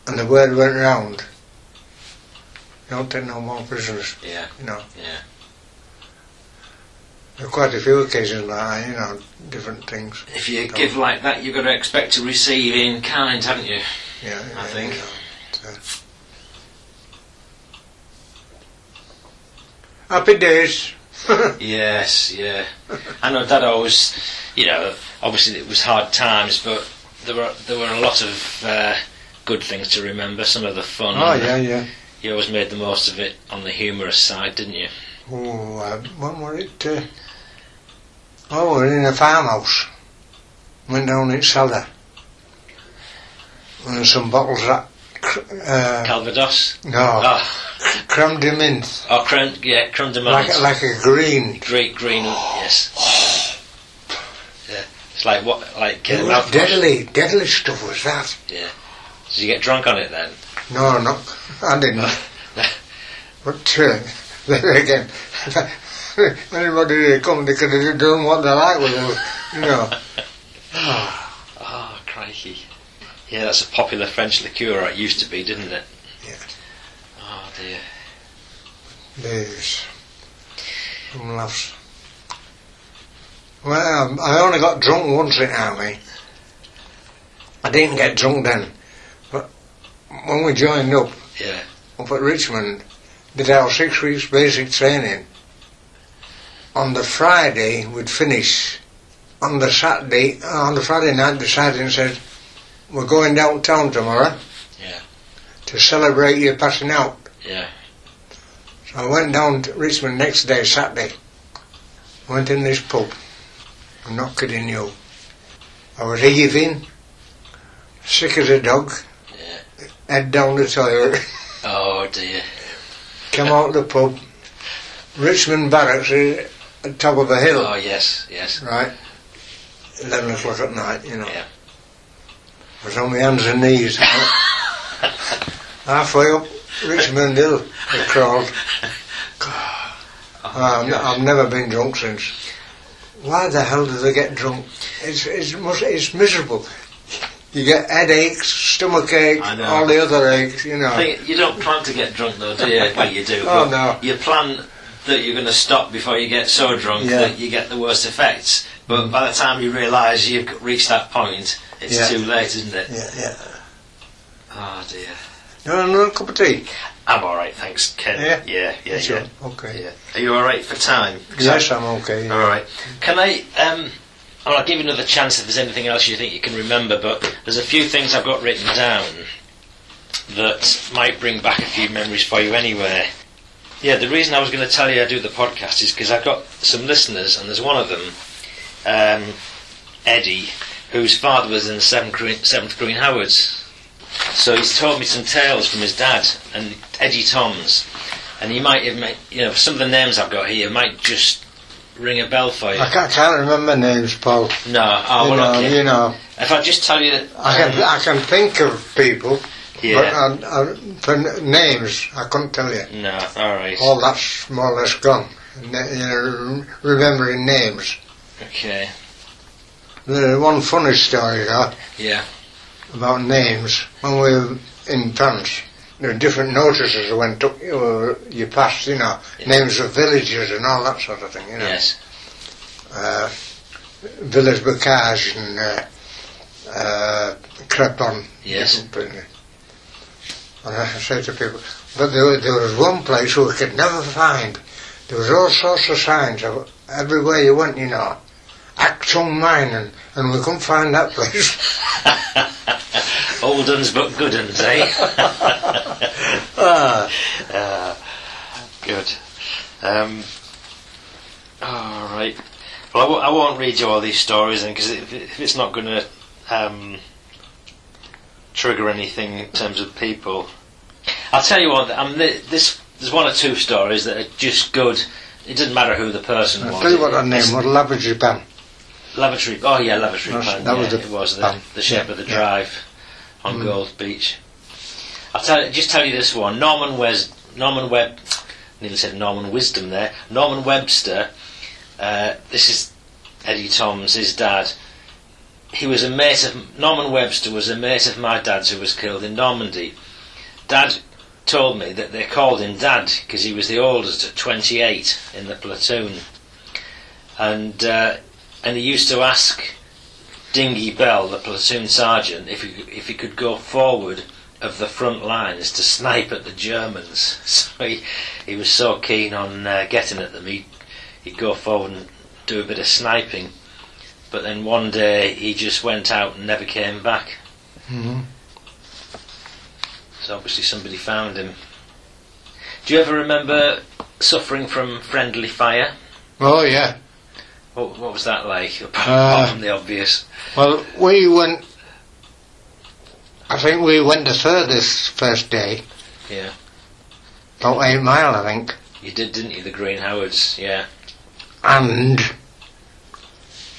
Speaker 2: And the word went round. Don't take no more prisoners,
Speaker 3: Yeah.
Speaker 2: you know.
Speaker 3: Yeah.
Speaker 2: There are quite a few occasions like that, you know, different things.
Speaker 3: If you
Speaker 2: Don't-
Speaker 3: give like that, you've got to expect to receive in kind, haven't you?
Speaker 2: Yeah,
Speaker 3: I
Speaker 2: yeah,
Speaker 3: think.
Speaker 2: yeah. Happy days.
Speaker 3: Yes. Yeah. I know Dad always, you know, obviously it was hard times, but there were there were a lot of uh, good things to remember. Some of the fun.
Speaker 2: oh yeah, yeah.
Speaker 3: You always made the most of it on the humorous side, didn't you?
Speaker 2: Oh, uh, when were it? Uh, oh, we were in a farmhouse. Went down its cellar. And some bottles that cr- uh,
Speaker 3: Calvados.
Speaker 2: no
Speaker 3: Oh,
Speaker 2: crammed him in
Speaker 3: oh, creme, yeah, creme de menthe.
Speaker 2: like like a green.
Speaker 3: Great green, yes. Yeah, it's like what, like uh,
Speaker 2: It was
Speaker 3: mouthwash.
Speaker 2: deadly, deadly stuff was that.
Speaker 3: Did you get drunk on it then?
Speaker 2: No, no, I didn't. but uh, there again. Anybody who come, they could have done what they like with us, you know.
Speaker 3: Oh, crikey. Yeah, that's a popular French liqueur, or it used to be, didn't it?
Speaker 2: Yeah.
Speaker 3: Oh, dear.
Speaker 2: There's some laughs. Well, um, I only got drunk once in army. I didn't get drunk then, but when we joined up
Speaker 3: Yeah.
Speaker 2: up at Richmond, did our six weeks basic training. On the Friday we'd finish. On the Saturday, on the Friday night, decided and said, "We're going downtown tomorrow."
Speaker 3: Yeah.
Speaker 2: To celebrate your passing out.
Speaker 3: Yeah.
Speaker 2: So I went down to Richmond next day, Saturday. Went in this pub. I'm not kidding you. I was heaving, sick as a dog.
Speaker 3: Yeah.
Speaker 2: Head down the toilet.
Speaker 3: Oh, dear.
Speaker 2: Come out the pub. Richmond Barracks is at the top of a hill,
Speaker 3: Oh, yes, yes.
Speaker 2: right? Eleven o'clock at night, you know.
Speaker 3: Yeah.
Speaker 2: I was on my hands and knees. you know. Halfway up Richmond Hill, I crawled.
Speaker 3: Oh,
Speaker 2: Um, I've never been drunk since. Why the hell do they get drunk? It's it's mus- it's miserable. You get headaches, stomach ache,
Speaker 3: I know.
Speaker 2: all the other aches, you know.
Speaker 3: I think you don't plan to get drunk, though, do you? well, you do.
Speaker 2: Oh,
Speaker 3: but
Speaker 2: no.
Speaker 3: You plan that you're going to stop before you get so drunk
Speaker 2: Yeah. Mm.
Speaker 3: that you get the worst effects. But by the time you realise you've reached that point, it's
Speaker 2: Yeah.
Speaker 3: too late, isn't it?
Speaker 2: Yeah, yeah.
Speaker 3: Oh, dear.
Speaker 2: You want another cup of tea?
Speaker 3: I'm all right, thanks, Ken.
Speaker 2: Yeah?
Speaker 3: yeah, yeah.
Speaker 2: Sure.
Speaker 3: yeah.
Speaker 2: Okay.
Speaker 3: Yeah. Are you all right for time? 'Cause
Speaker 2: Yes, I'm okay.
Speaker 3: All right. Can I? Um, well, I'll give you another chance if there's anything else you think you can remember. But there's a few things I've got written down that might bring back a few memories for you anywhere. Yeah, the reason I was going to tell you I do the podcast is because I've got some listeners, and there's one of them, um, Eddie, whose father was in the Seventh Green, Seventh Green Howards. So he's told me some tales from his dad and Eddie Toms, and you might have, ma- you know, some of the names I've got here might just ring a bell for you.
Speaker 2: I can't, can't remember names, Paul.
Speaker 3: No, oh,
Speaker 2: you,
Speaker 3: well,
Speaker 2: know,
Speaker 3: okay.
Speaker 2: you know,
Speaker 3: If I just tell you, um,
Speaker 2: I can I can think of people,
Speaker 3: yeah,
Speaker 2: but I, I, for n- names I couldn't tell you.
Speaker 3: no, all right,
Speaker 2: All that's more or less gone. Na- you know, remembering names.
Speaker 3: okay,
Speaker 2: There's one funny story though.
Speaker 3: yeah,
Speaker 2: about names. When we were in France, there were different notices that went up your, your past, you know,
Speaker 3: Yeah.
Speaker 2: names of villages and all that sort of thing, you know.
Speaker 3: yes,
Speaker 2: Uh, Village Bocage and uh, uh, Crepon.
Speaker 3: Yes.
Speaker 2: different thing. And I say to people, but there, wa- there was one place we could never find. There was all sorts of signs of everywhere you went, you know. Acton Minen, and we couldn't find that place.
Speaker 3: old uns but good uns, eh?
Speaker 2: Ah.
Speaker 3: Uh, good. Um, all right. Well, I w- I won't read you all these stories, because if, if it's not going to um, trigger anything in terms of people, I'll tell you what. I'm li- this there's one or two stories that are just good. It doesn't matter who the person
Speaker 2: I'll
Speaker 3: was.
Speaker 2: tell you what her
Speaker 3: It's
Speaker 2: name was, Lavage Pan.
Speaker 3: Lavatory. Oh yeah, Lavatory
Speaker 2: That's-
Speaker 3: Pan.
Speaker 2: that
Speaker 3: yeah,
Speaker 2: was the
Speaker 3: it was the,
Speaker 2: pan.
Speaker 3: the shape of the
Speaker 2: Yeah. Mm.
Speaker 3: drive on Gold Beach. I'll tell just tell you this one. Norman Wes Norman Web nearly said Norman Wisdom there. Norman Webster. Uh, this is Eddie Toms, his dad. He was a mate of Norman Webster was a mate of my dad's who was killed in Normandy. Dad told me that they called him Dad because he was the oldest at 28 in the platoon, and uh, and he used to ask Dingy Bell, the platoon sergeant, if he, if he could go forward of the front lines to snipe at the Germans. So he, he was so keen on uh, getting at them, he, he'd go forward and do a bit of sniping. But then one day he just went out and never came back.
Speaker 2: Mhm.
Speaker 3: So obviously somebody found him. Do you ever remember suffering from friendly fire?
Speaker 2: Oh, yeah.
Speaker 3: What, what was that like? Apart
Speaker 2: Uh,
Speaker 3: from the obvious.
Speaker 2: Well, we went. I think we went the furthest first day.
Speaker 3: Yeah.
Speaker 2: About eight mile, I think.
Speaker 3: You did, didn't you? The Green Howards, yeah.
Speaker 2: And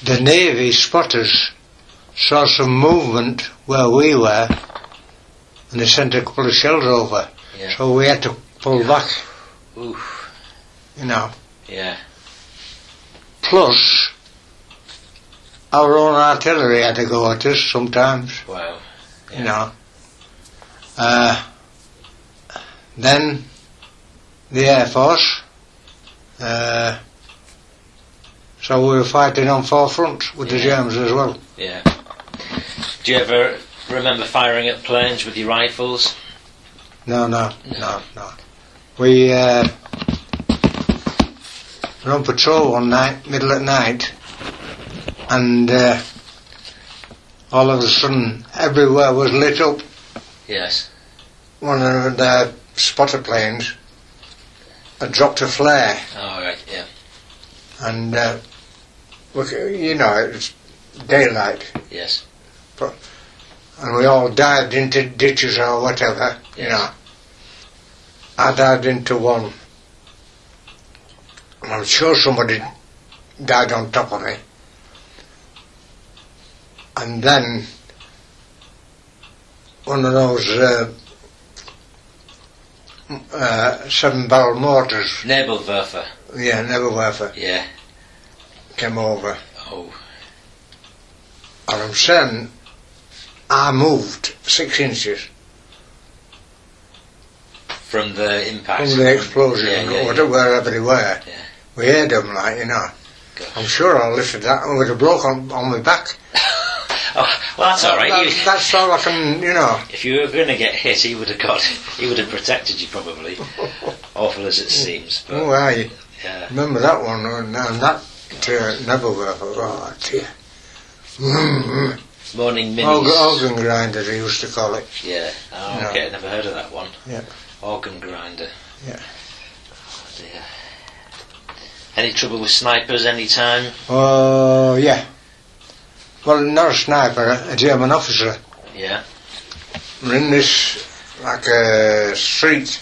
Speaker 2: the Navy spotters saw some movement where we were and they sent a couple of shells over.
Speaker 3: Yeah.
Speaker 2: So we had to pull back.
Speaker 3: Oof.
Speaker 2: you know.
Speaker 3: Yeah.
Speaker 2: Plus, our own artillery had to go at us sometimes.
Speaker 3: Wow. Yeah.
Speaker 2: you know. Uh, then the Air Force. Uh, so we were fighting on four fronts with the
Speaker 3: Yeah.
Speaker 2: Germans as well.
Speaker 3: Yeah. Do you ever remember firing at planes with your rifles?
Speaker 2: No, no, no, no. We uh, were on patrol one night, middle at night, and uh, all of a sudden everywhere was lit up.
Speaker 3: Yes.
Speaker 2: One of the spotter planes had dropped a flare
Speaker 3: All Oh, right. Yeah.
Speaker 2: and uh, look, you know, it was daylight,
Speaker 3: Yes.
Speaker 2: and we all dived into ditches or whatever, you know. I dived into one, and I'm sure somebody died on top of me. And then one of those uh, m- uh, seven barrel mortars,
Speaker 3: Nebelwerfer.
Speaker 2: yeah, Neverwerfer,
Speaker 3: Yeah.
Speaker 2: came over.
Speaker 3: Oh.
Speaker 2: And I'm saying I moved six inches
Speaker 3: From the impact.
Speaker 2: from the explosion
Speaker 3: Yeah, yeah,
Speaker 2: or
Speaker 3: yeah.
Speaker 2: whatever, wherever they were.
Speaker 3: Yeah.
Speaker 2: We heard them, like, you know.
Speaker 3: Gosh.
Speaker 2: I'm sure I lifted that and with a bloke on, on my back.
Speaker 3: Oh, well, that's all right.
Speaker 2: That-
Speaker 3: You-
Speaker 2: that's all I can, you know.
Speaker 3: If you were going to get hit, he would have got. He would have protected you probably. Awful as it seems, but
Speaker 2: Oh, I
Speaker 3: yeah,
Speaker 2: remember that one and, and that uh, Nebelwerfer. Oh, dear.
Speaker 3: Mm-hmm.
Speaker 2: Mm, mm.
Speaker 3: morning minis.
Speaker 2: Org- Organ grinder, they used to call it.
Speaker 3: Yeah. Oh,
Speaker 2: No.
Speaker 3: okay. Never heard of that one.
Speaker 2: Yeah.
Speaker 3: Organ grinder.
Speaker 2: Yeah.
Speaker 3: Oh, dear. Any trouble with snipers? Any time?
Speaker 2: Oh, yeah. Well, not a sniper, a German officer.
Speaker 3: Yeah.
Speaker 2: We're in this like a street,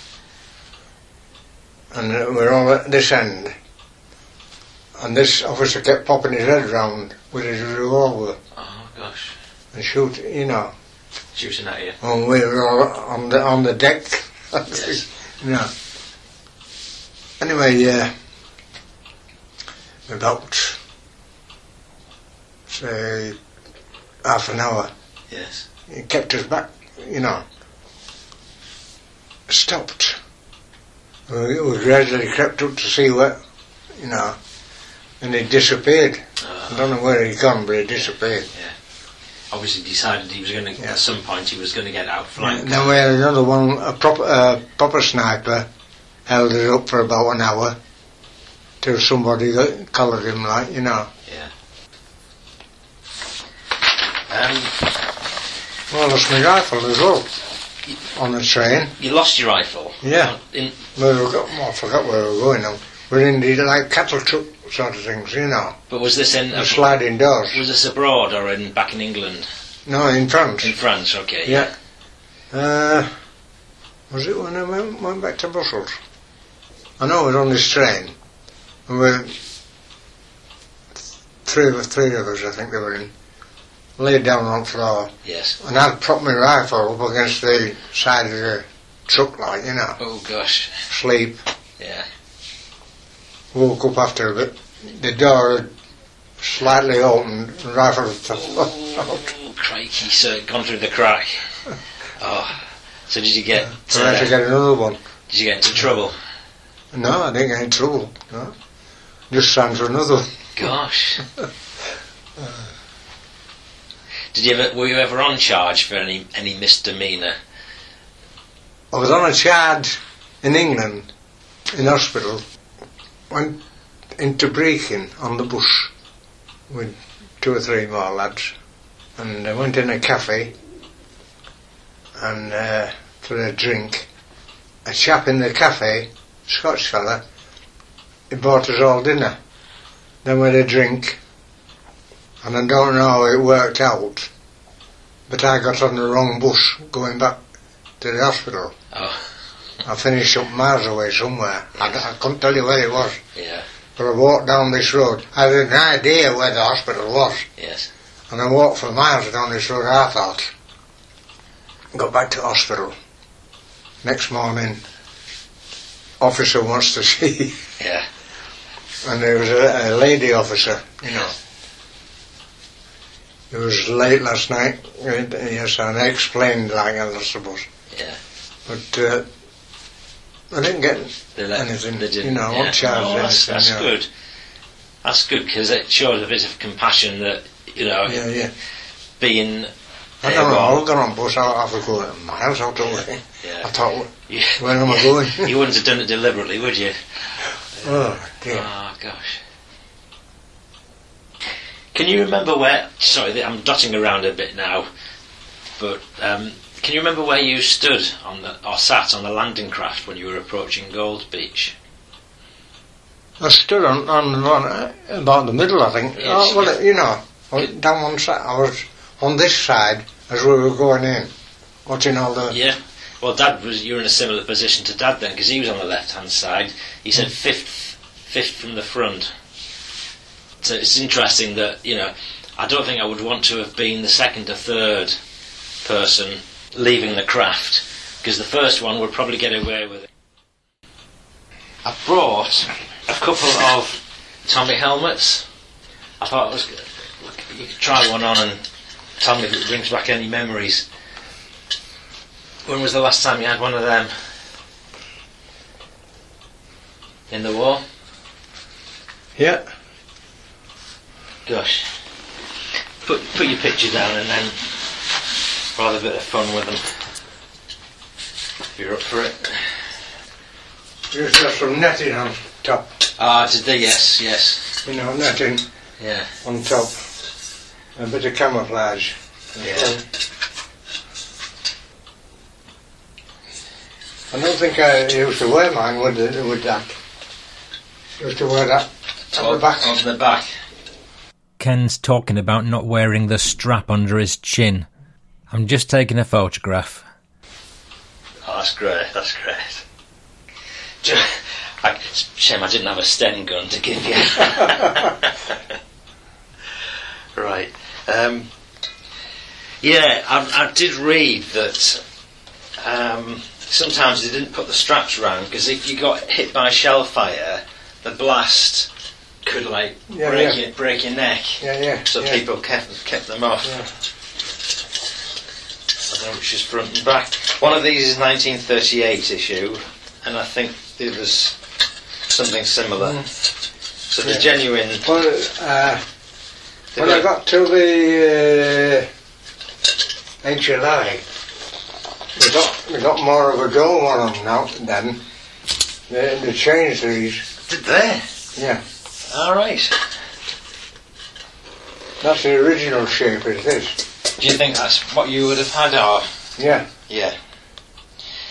Speaker 2: and we're all at this end. And this officer kept popping his head round with his revolver
Speaker 3: Oh gosh,
Speaker 2: and shoot, you know.
Speaker 3: shooting at you.
Speaker 2: And we were all on the on the deck,
Speaker 3: Yes.
Speaker 2: you know. Anyway, yeah, about say half an hour.
Speaker 3: Yes.
Speaker 2: It kept us back, you know. Stopped. We, we gradually crept up to see what, you know, and he disappeared. I
Speaker 3: Uh,
Speaker 2: don't know where he'd gone, but he disappeared.
Speaker 3: obviously decided he was going to.
Speaker 2: Yeah.
Speaker 3: At some point, he was going to get outflanked.
Speaker 2: And then we had another one, a proper, uh, proper sniper, held it up for about an hour till somebody got, collared him, like, you know.
Speaker 3: Um,
Speaker 2: Well, I lost my rifle as well on the train.
Speaker 3: you lost your rifle.
Speaker 2: Yeah.
Speaker 3: In,
Speaker 2: We were, go- well, I forgot where we were going now. We're in the, like, cattle truck sort of things, you know.
Speaker 3: but was this in?
Speaker 2: The sliding doors.
Speaker 3: was this abroad or in back in England?
Speaker 2: No, in France.
Speaker 3: In France. Okay.
Speaker 2: Yeah. Uh, was it when I went, went back to Brussels? I know I was on this train. And we three of us, three of us, I think they were in, laid down on the floor.
Speaker 3: Yes.
Speaker 2: And I'd propped my rifle up against the side of the truck, like, you know,
Speaker 3: Oh gosh.
Speaker 2: sleep.
Speaker 3: Yeah.
Speaker 2: Woke up after a bit. The door had slightly opened, the rifle had fallen out.
Speaker 3: Oh, crikey! So it gone through the crack. Oh. So did you get?
Speaker 2: So I had
Speaker 3: uh,
Speaker 2: to get another one.
Speaker 3: Did you get into trouble?
Speaker 2: No, I didn't get in trouble. No. Just signed for another one.
Speaker 3: Gosh. Did you ever? Were you ever on charge for any any misdemeanor?
Speaker 2: I was on a charge in England, in hospital. Went into breaking on the bus with two or three more lads. And I went in a cafe and uh, for a drink. A chap in the cafe, Scotch fella, he bought us all dinner. Then we had a drink. And I don't know how it worked out, but I got on the wrong bus going back to the hospital.
Speaker 3: Oh,
Speaker 2: I finished up miles away somewhere. I, I couldn't tell you where it was,
Speaker 3: yeah.
Speaker 2: but I walked down this road. I had an idea where the hospital was,
Speaker 3: Yes.
Speaker 2: and I walked for miles down this road, I thought. Got back to hospital. Next morning, officer wants to see.
Speaker 3: Yeah.
Speaker 2: And there was a, a lady officer, you know. It was late last night, and, uh, yes, and I explained like that, I suppose.
Speaker 3: Yeah.
Speaker 2: But uh, I didn't get
Speaker 3: They let,
Speaker 2: Anything,
Speaker 3: they didn't.
Speaker 2: you know,
Speaker 3: yeah.
Speaker 2: what charge
Speaker 3: No, that's,
Speaker 2: anything,
Speaker 3: that's
Speaker 2: yeah.
Speaker 3: good. That's good because it shows a bit of compassion that you know
Speaker 2: Yeah, yeah.
Speaker 3: being.
Speaker 2: I don't know,
Speaker 3: able-
Speaker 2: I'll get on bus, I'll have to go miles out of the way. I
Speaker 3: Yeah.
Speaker 2: thought,
Speaker 3: Yeah.
Speaker 2: where am I going?
Speaker 3: you wouldn't have done it deliberately, would you?
Speaker 2: oh, dear.
Speaker 3: Oh gosh. Can you remember where? Sorry, th- I'm dotting around a bit now, but um, can you remember where you stood on the or sat on the landing craft when you were approaching Gold Beach?
Speaker 2: I stood on, on, on about the middle, I think.
Speaker 3: Yes,
Speaker 2: oh, well,
Speaker 3: yes.
Speaker 2: you know, I was down one side, I was on this side as we were going in, watching all the.
Speaker 3: Yeah. Well, Dad was. You were in a similar position to Dad then, because he was on the left-hand side. He said fifth, fifth from the front. So it's interesting that you know, I don't think I would want to have been the second or third person leaving the craft, because the first one would probably get away with it. I brought a couple of Tommy helmets. I thought it was good. You could try one on and tell me if it brings back any memories. When was the last time you had one of them? In the war?
Speaker 2: Yeah.
Speaker 3: Gosh. Put put your picture down and then we'll have a bit of fun with them. If you're up for it.
Speaker 2: You just have some netting on top,
Speaker 3: Ah, today, yes, yes.
Speaker 2: you know, netting
Speaker 3: Yeah,
Speaker 2: on top. A bit of camouflage.
Speaker 3: yeah.
Speaker 2: I don't think I used to wear mine with, the- with that. Used to wear that on the back.
Speaker 3: On the back.
Speaker 1: Ken's talking about not wearing the strap under his chin. I'm just taking a photograph.
Speaker 3: Oh, that's great, that's great. Do you- I, it's a shame I didn't have a Sten gun to give you. right. Um, yeah, I, I did read that um, sometimes they didn't put the straps round because if you got hit by shell fire, the blast could like
Speaker 2: Yeah,
Speaker 3: break,
Speaker 2: yeah.
Speaker 3: Your, break your neck.
Speaker 2: Yeah, yeah.
Speaker 3: So
Speaker 2: yeah.
Speaker 3: people kept kept them off.
Speaker 2: Yeah.
Speaker 3: I don't know which is front and back. One of these is 1938 issue, and I think it was something similar. So the
Speaker 2: Mm. Yeah.
Speaker 3: genuine.
Speaker 2: Well, uh,
Speaker 3: the
Speaker 2: When I got to the uh, in July, we got we got more of a go on them now then. They, they changed these.
Speaker 3: did there.
Speaker 2: Yeah,
Speaker 3: All right.
Speaker 2: that's the original shape. Is this?
Speaker 3: Do you think that's what you would have had? Or
Speaker 2: Yeah,
Speaker 3: yeah,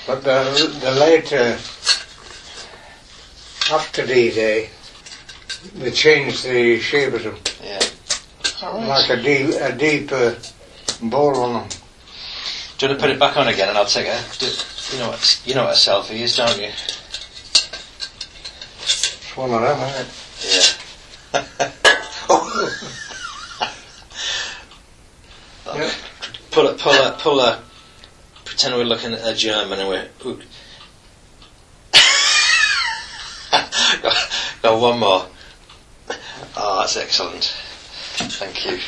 Speaker 2: but the the later after D-Day, they changed the shape of them
Speaker 3: yeah.
Speaker 2: like a deep a deeper ball on them.
Speaker 3: Do you want to put it back on again, and I'll take a. do- you know what you know what a selfie is, don't you?
Speaker 2: It's one of them, isn't it?
Speaker 3: Yeah. oh.
Speaker 2: Yeah.
Speaker 3: Pull a pull a pull a. Pretend we're looking at a German and we're. we're Got one more. Oh, that's excellent. Thank you.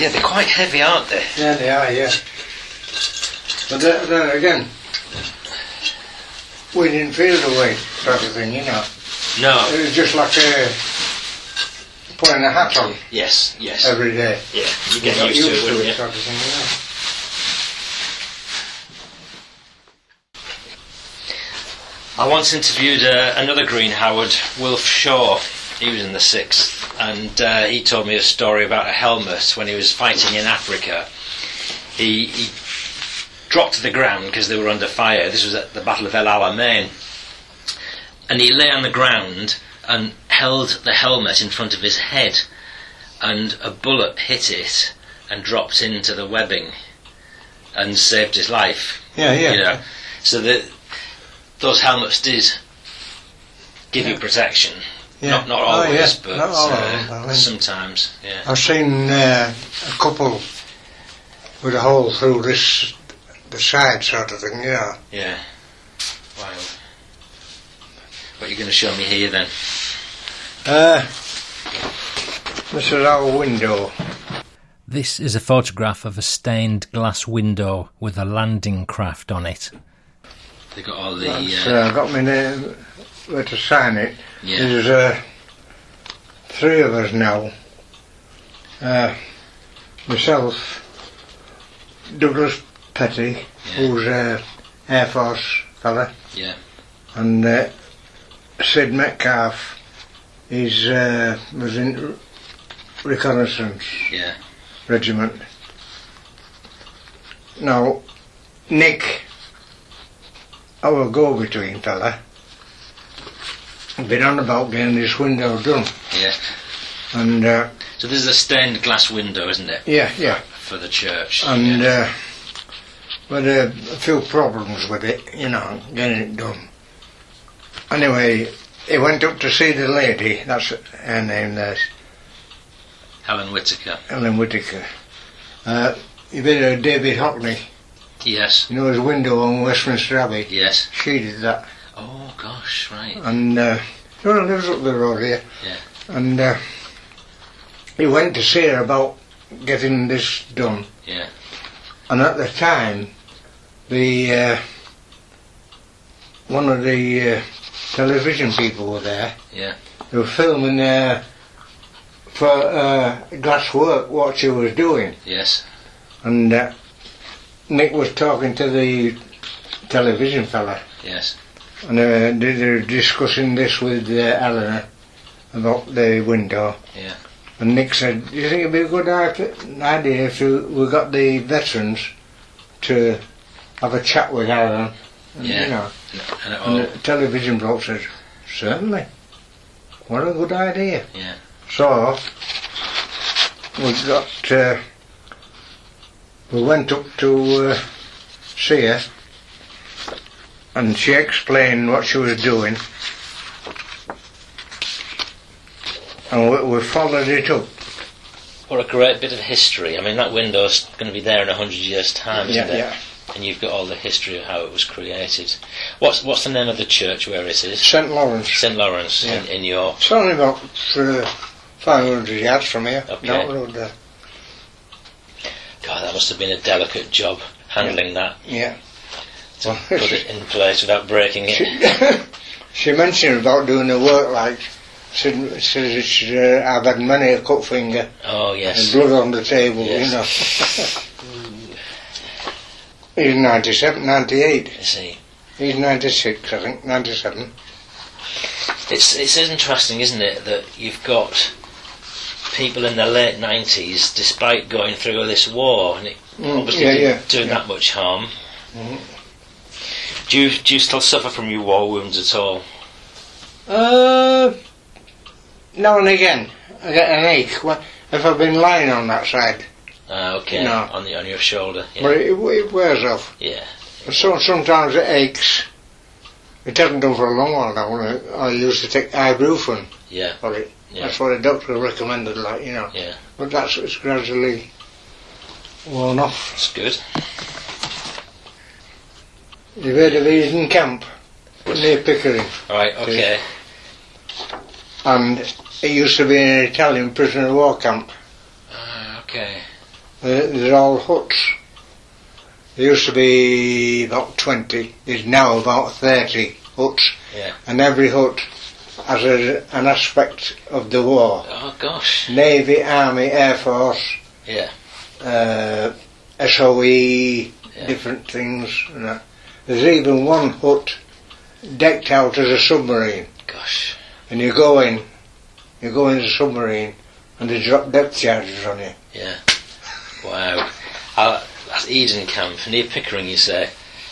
Speaker 3: Yeah, they're quite heavy, aren't they?
Speaker 2: Yeah, they are. Yeah, but then, then again, we didn't feel the weight sort of thing, you know.
Speaker 3: No.
Speaker 2: It was just like uh, putting a hat on
Speaker 3: Yes. Yes.
Speaker 2: every day.
Speaker 3: Oh. yeah. You
Speaker 2: You
Speaker 3: get
Speaker 2: got
Speaker 3: used to it, wouldn't you?
Speaker 2: sort of thing, you know.
Speaker 3: I once interviewed uh, another Green Howard, Wilf Shaw. He was in the sixth, and uh, he told me a story about a helmet when he was fighting in Africa. He, he dropped to the ground because they were under fire. This was at the Battle of El Alamein, and he lay on the ground and held the helmet in front of his head, and a bullet hit it and dropped into the webbing, and saved his life
Speaker 2: Yeah, yeah.
Speaker 3: you know. So that those helmets did give you protection.
Speaker 2: yeah.
Speaker 3: Not not
Speaker 2: Oh,
Speaker 3: always,
Speaker 2: yeah.
Speaker 3: but
Speaker 2: Not all of them, I
Speaker 3: uh,
Speaker 2: think.
Speaker 3: sometimes. Yeah.
Speaker 2: I've seen uh, a couple with a hole through this the side sort of thing, you know.
Speaker 3: Yeah. Wow. What are you going to show me here then?
Speaker 2: Uh, this is our window.
Speaker 1: This is a photograph of a stained glass window with a landing craft on it.
Speaker 3: They got all the.
Speaker 2: That's,
Speaker 3: Uh,
Speaker 2: uh, got my name where to sign it.
Speaker 3: yeah.
Speaker 2: There's uh, three of us now. Uh, myself, Douglas Petty, who's uh, Air Force fella,
Speaker 3: Yeah.
Speaker 2: and uh, Sid Metcalf. He's uh, was in reconnaissance
Speaker 3: Yeah.
Speaker 2: regiment. Now, Nick, our go-between fella, been on about getting this window done.
Speaker 3: Yeah.
Speaker 2: And uh,
Speaker 3: So this is a stained glass window, isn't it,
Speaker 2: yeah, yeah.
Speaker 3: for the church?
Speaker 2: And uh,
Speaker 3: yeah.
Speaker 2: but uh, a few problems with it, you know, getting it done. Anyway, he went up to see the lady. That's her name. There's
Speaker 3: Helen Whitaker.
Speaker 2: Ellen Whitaker. Uh, you been to David Hockney?
Speaker 3: Yes.
Speaker 2: You know his window on Westminster Abbey.
Speaker 3: Yes.
Speaker 2: She did that.
Speaker 3: Oh gosh, right.
Speaker 2: And uh, she only lives up the road here.
Speaker 3: Yeah.
Speaker 2: And uh, he went to see her about getting this done.
Speaker 3: Yeah.
Speaker 2: And at the time, the uh, one of the uh, television people were there.
Speaker 3: Yeah.
Speaker 2: They were filming uh, for uh, Glass Work what she was doing,
Speaker 3: Yes.
Speaker 2: and uh, Nick was talking to the television fella,
Speaker 3: Yes.
Speaker 2: and uh, they they were discussing this with uh, Eleanor about the window.
Speaker 3: Yeah.
Speaker 2: And Nick said, "Do you think it'd be a good i- idea if you- we got the veterans to have a chat with Alan?" And,
Speaker 3: Yeah.
Speaker 2: You know,
Speaker 3: And oh, it
Speaker 2: and
Speaker 3: all.
Speaker 2: the television bloke said, "Certainly. What a good idea."
Speaker 3: Yeah.
Speaker 2: So we got uh, we went up to uh, see her, and she explained what she was doing, and we, we followed it up.
Speaker 3: What a great bit of history. I mean, that window's going to be there in a hundred years' time, isn't
Speaker 2: Yeah,
Speaker 3: it?
Speaker 2: yeah.
Speaker 3: And you've got all the history of how it was created. What's What's the name of the church where it is?
Speaker 2: St Lawrence.
Speaker 3: St Lawrence in, in York.
Speaker 2: It's only about uh, 500 yards from here.
Speaker 3: Okay.
Speaker 2: Not road there.
Speaker 3: God, that must have been a delicate job handling that
Speaker 2: Yeah.
Speaker 3: to put it in place without breaking it.
Speaker 2: She, she mentioned about doing the work like, she says she, uh, I've had many a cut finger
Speaker 3: Oh
Speaker 2: and
Speaker 3: yes,
Speaker 2: blood on the table, you know. He's 97, 98.
Speaker 3: you see,
Speaker 2: He's 96, I think, 97.
Speaker 3: it's it's interesting, isn't it, that you've got people in the late nineties, despite going through all this war, and it
Speaker 2: Mm,
Speaker 3: obviously
Speaker 2: yeah,
Speaker 3: didn't
Speaker 2: yeah,
Speaker 3: do
Speaker 2: yeah.
Speaker 3: that much harm.
Speaker 2: Mhm.
Speaker 3: Do you do you still suffer from your war wounds at all?
Speaker 2: Uh, now and again, I get an ache when- if I've been lying on that side.
Speaker 3: Ah, okay,
Speaker 2: No.
Speaker 3: on the on your shoulder. Yeah,
Speaker 2: But it, it wears off.
Speaker 3: yeah,
Speaker 2: So sometimes it aches. It doesn't do for a long while now. I, I used to take ibuprofen
Speaker 3: yeah,
Speaker 2: for it.
Speaker 3: Yeah.
Speaker 2: That's what the doctor recommended, like you know.
Speaker 3: Yeah.
Speaker 2: But that's it's gradually worn off.
Speaker 3: that's good.
Speaker 2: You've heard of Eden Camp near Pickering,
Speaker 3: All right, okay,
Speaker 2: and it used to be an Italian prisoner of war camp.
Speaker 3: Ah, okay,
Speaker 2: They're, Uh, they're all huts. There used to be about twenty. There's now about thirty huts,
Speaker 3: Yeah.
Speaker 2: and every hut has a, an aspect of the war.
Speaker 3: oh gosh,
Speaker 2: Navy, Army, Air Force,
Speaker 3: yeah,
Speaker 2: uh, SOE, different things. And that. There's even one hut decked out as a submarine,
Speaker 3: gosh,
Speaker 2: and you go in, you go in the submarine, and they drop depth charges on you.
Speaker 3: wow. Uh, that's Eden Camp near Pickering, you say?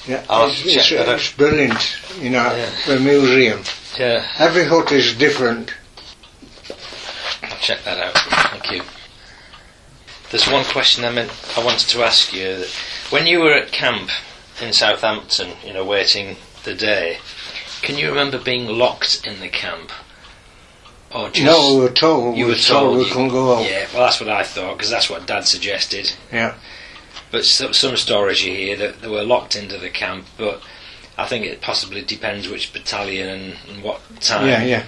Speaker 2: Yeah,
Speaker 3: I'll
Speaker 2: it's, it's,
Speaker 3: check that out.
Speaker 2: it's brilliant, you know,
Speaker 3: Yeah.
Speaker 2: the museum.
Speaker 3: Yeah.
Speaker 2: Every hut is different.
Speaker 3: check that out. Thank you. There's one question I meant I wanted to ask you. When you were at camp in Southampton, you know, waiting the day, can you remember being locked in the camp? Or just
Speaker 2: no, we were told,
Speaker 3: you
Speaker 2: we
Speaker 3: were told
Speaker 2: we
Speaker 3: you-
Speaker 2: couldn't go out.
Speaker 3: Yeah, well, that's what I thought because that's what Dad suggested.
Speaker 2: Yeah.
Speaker 3: But so, some stories you hear that they were locked into the camp, but I think it possibly depends which battalion and, and what time.
Speaker 2: Yeah, yeah.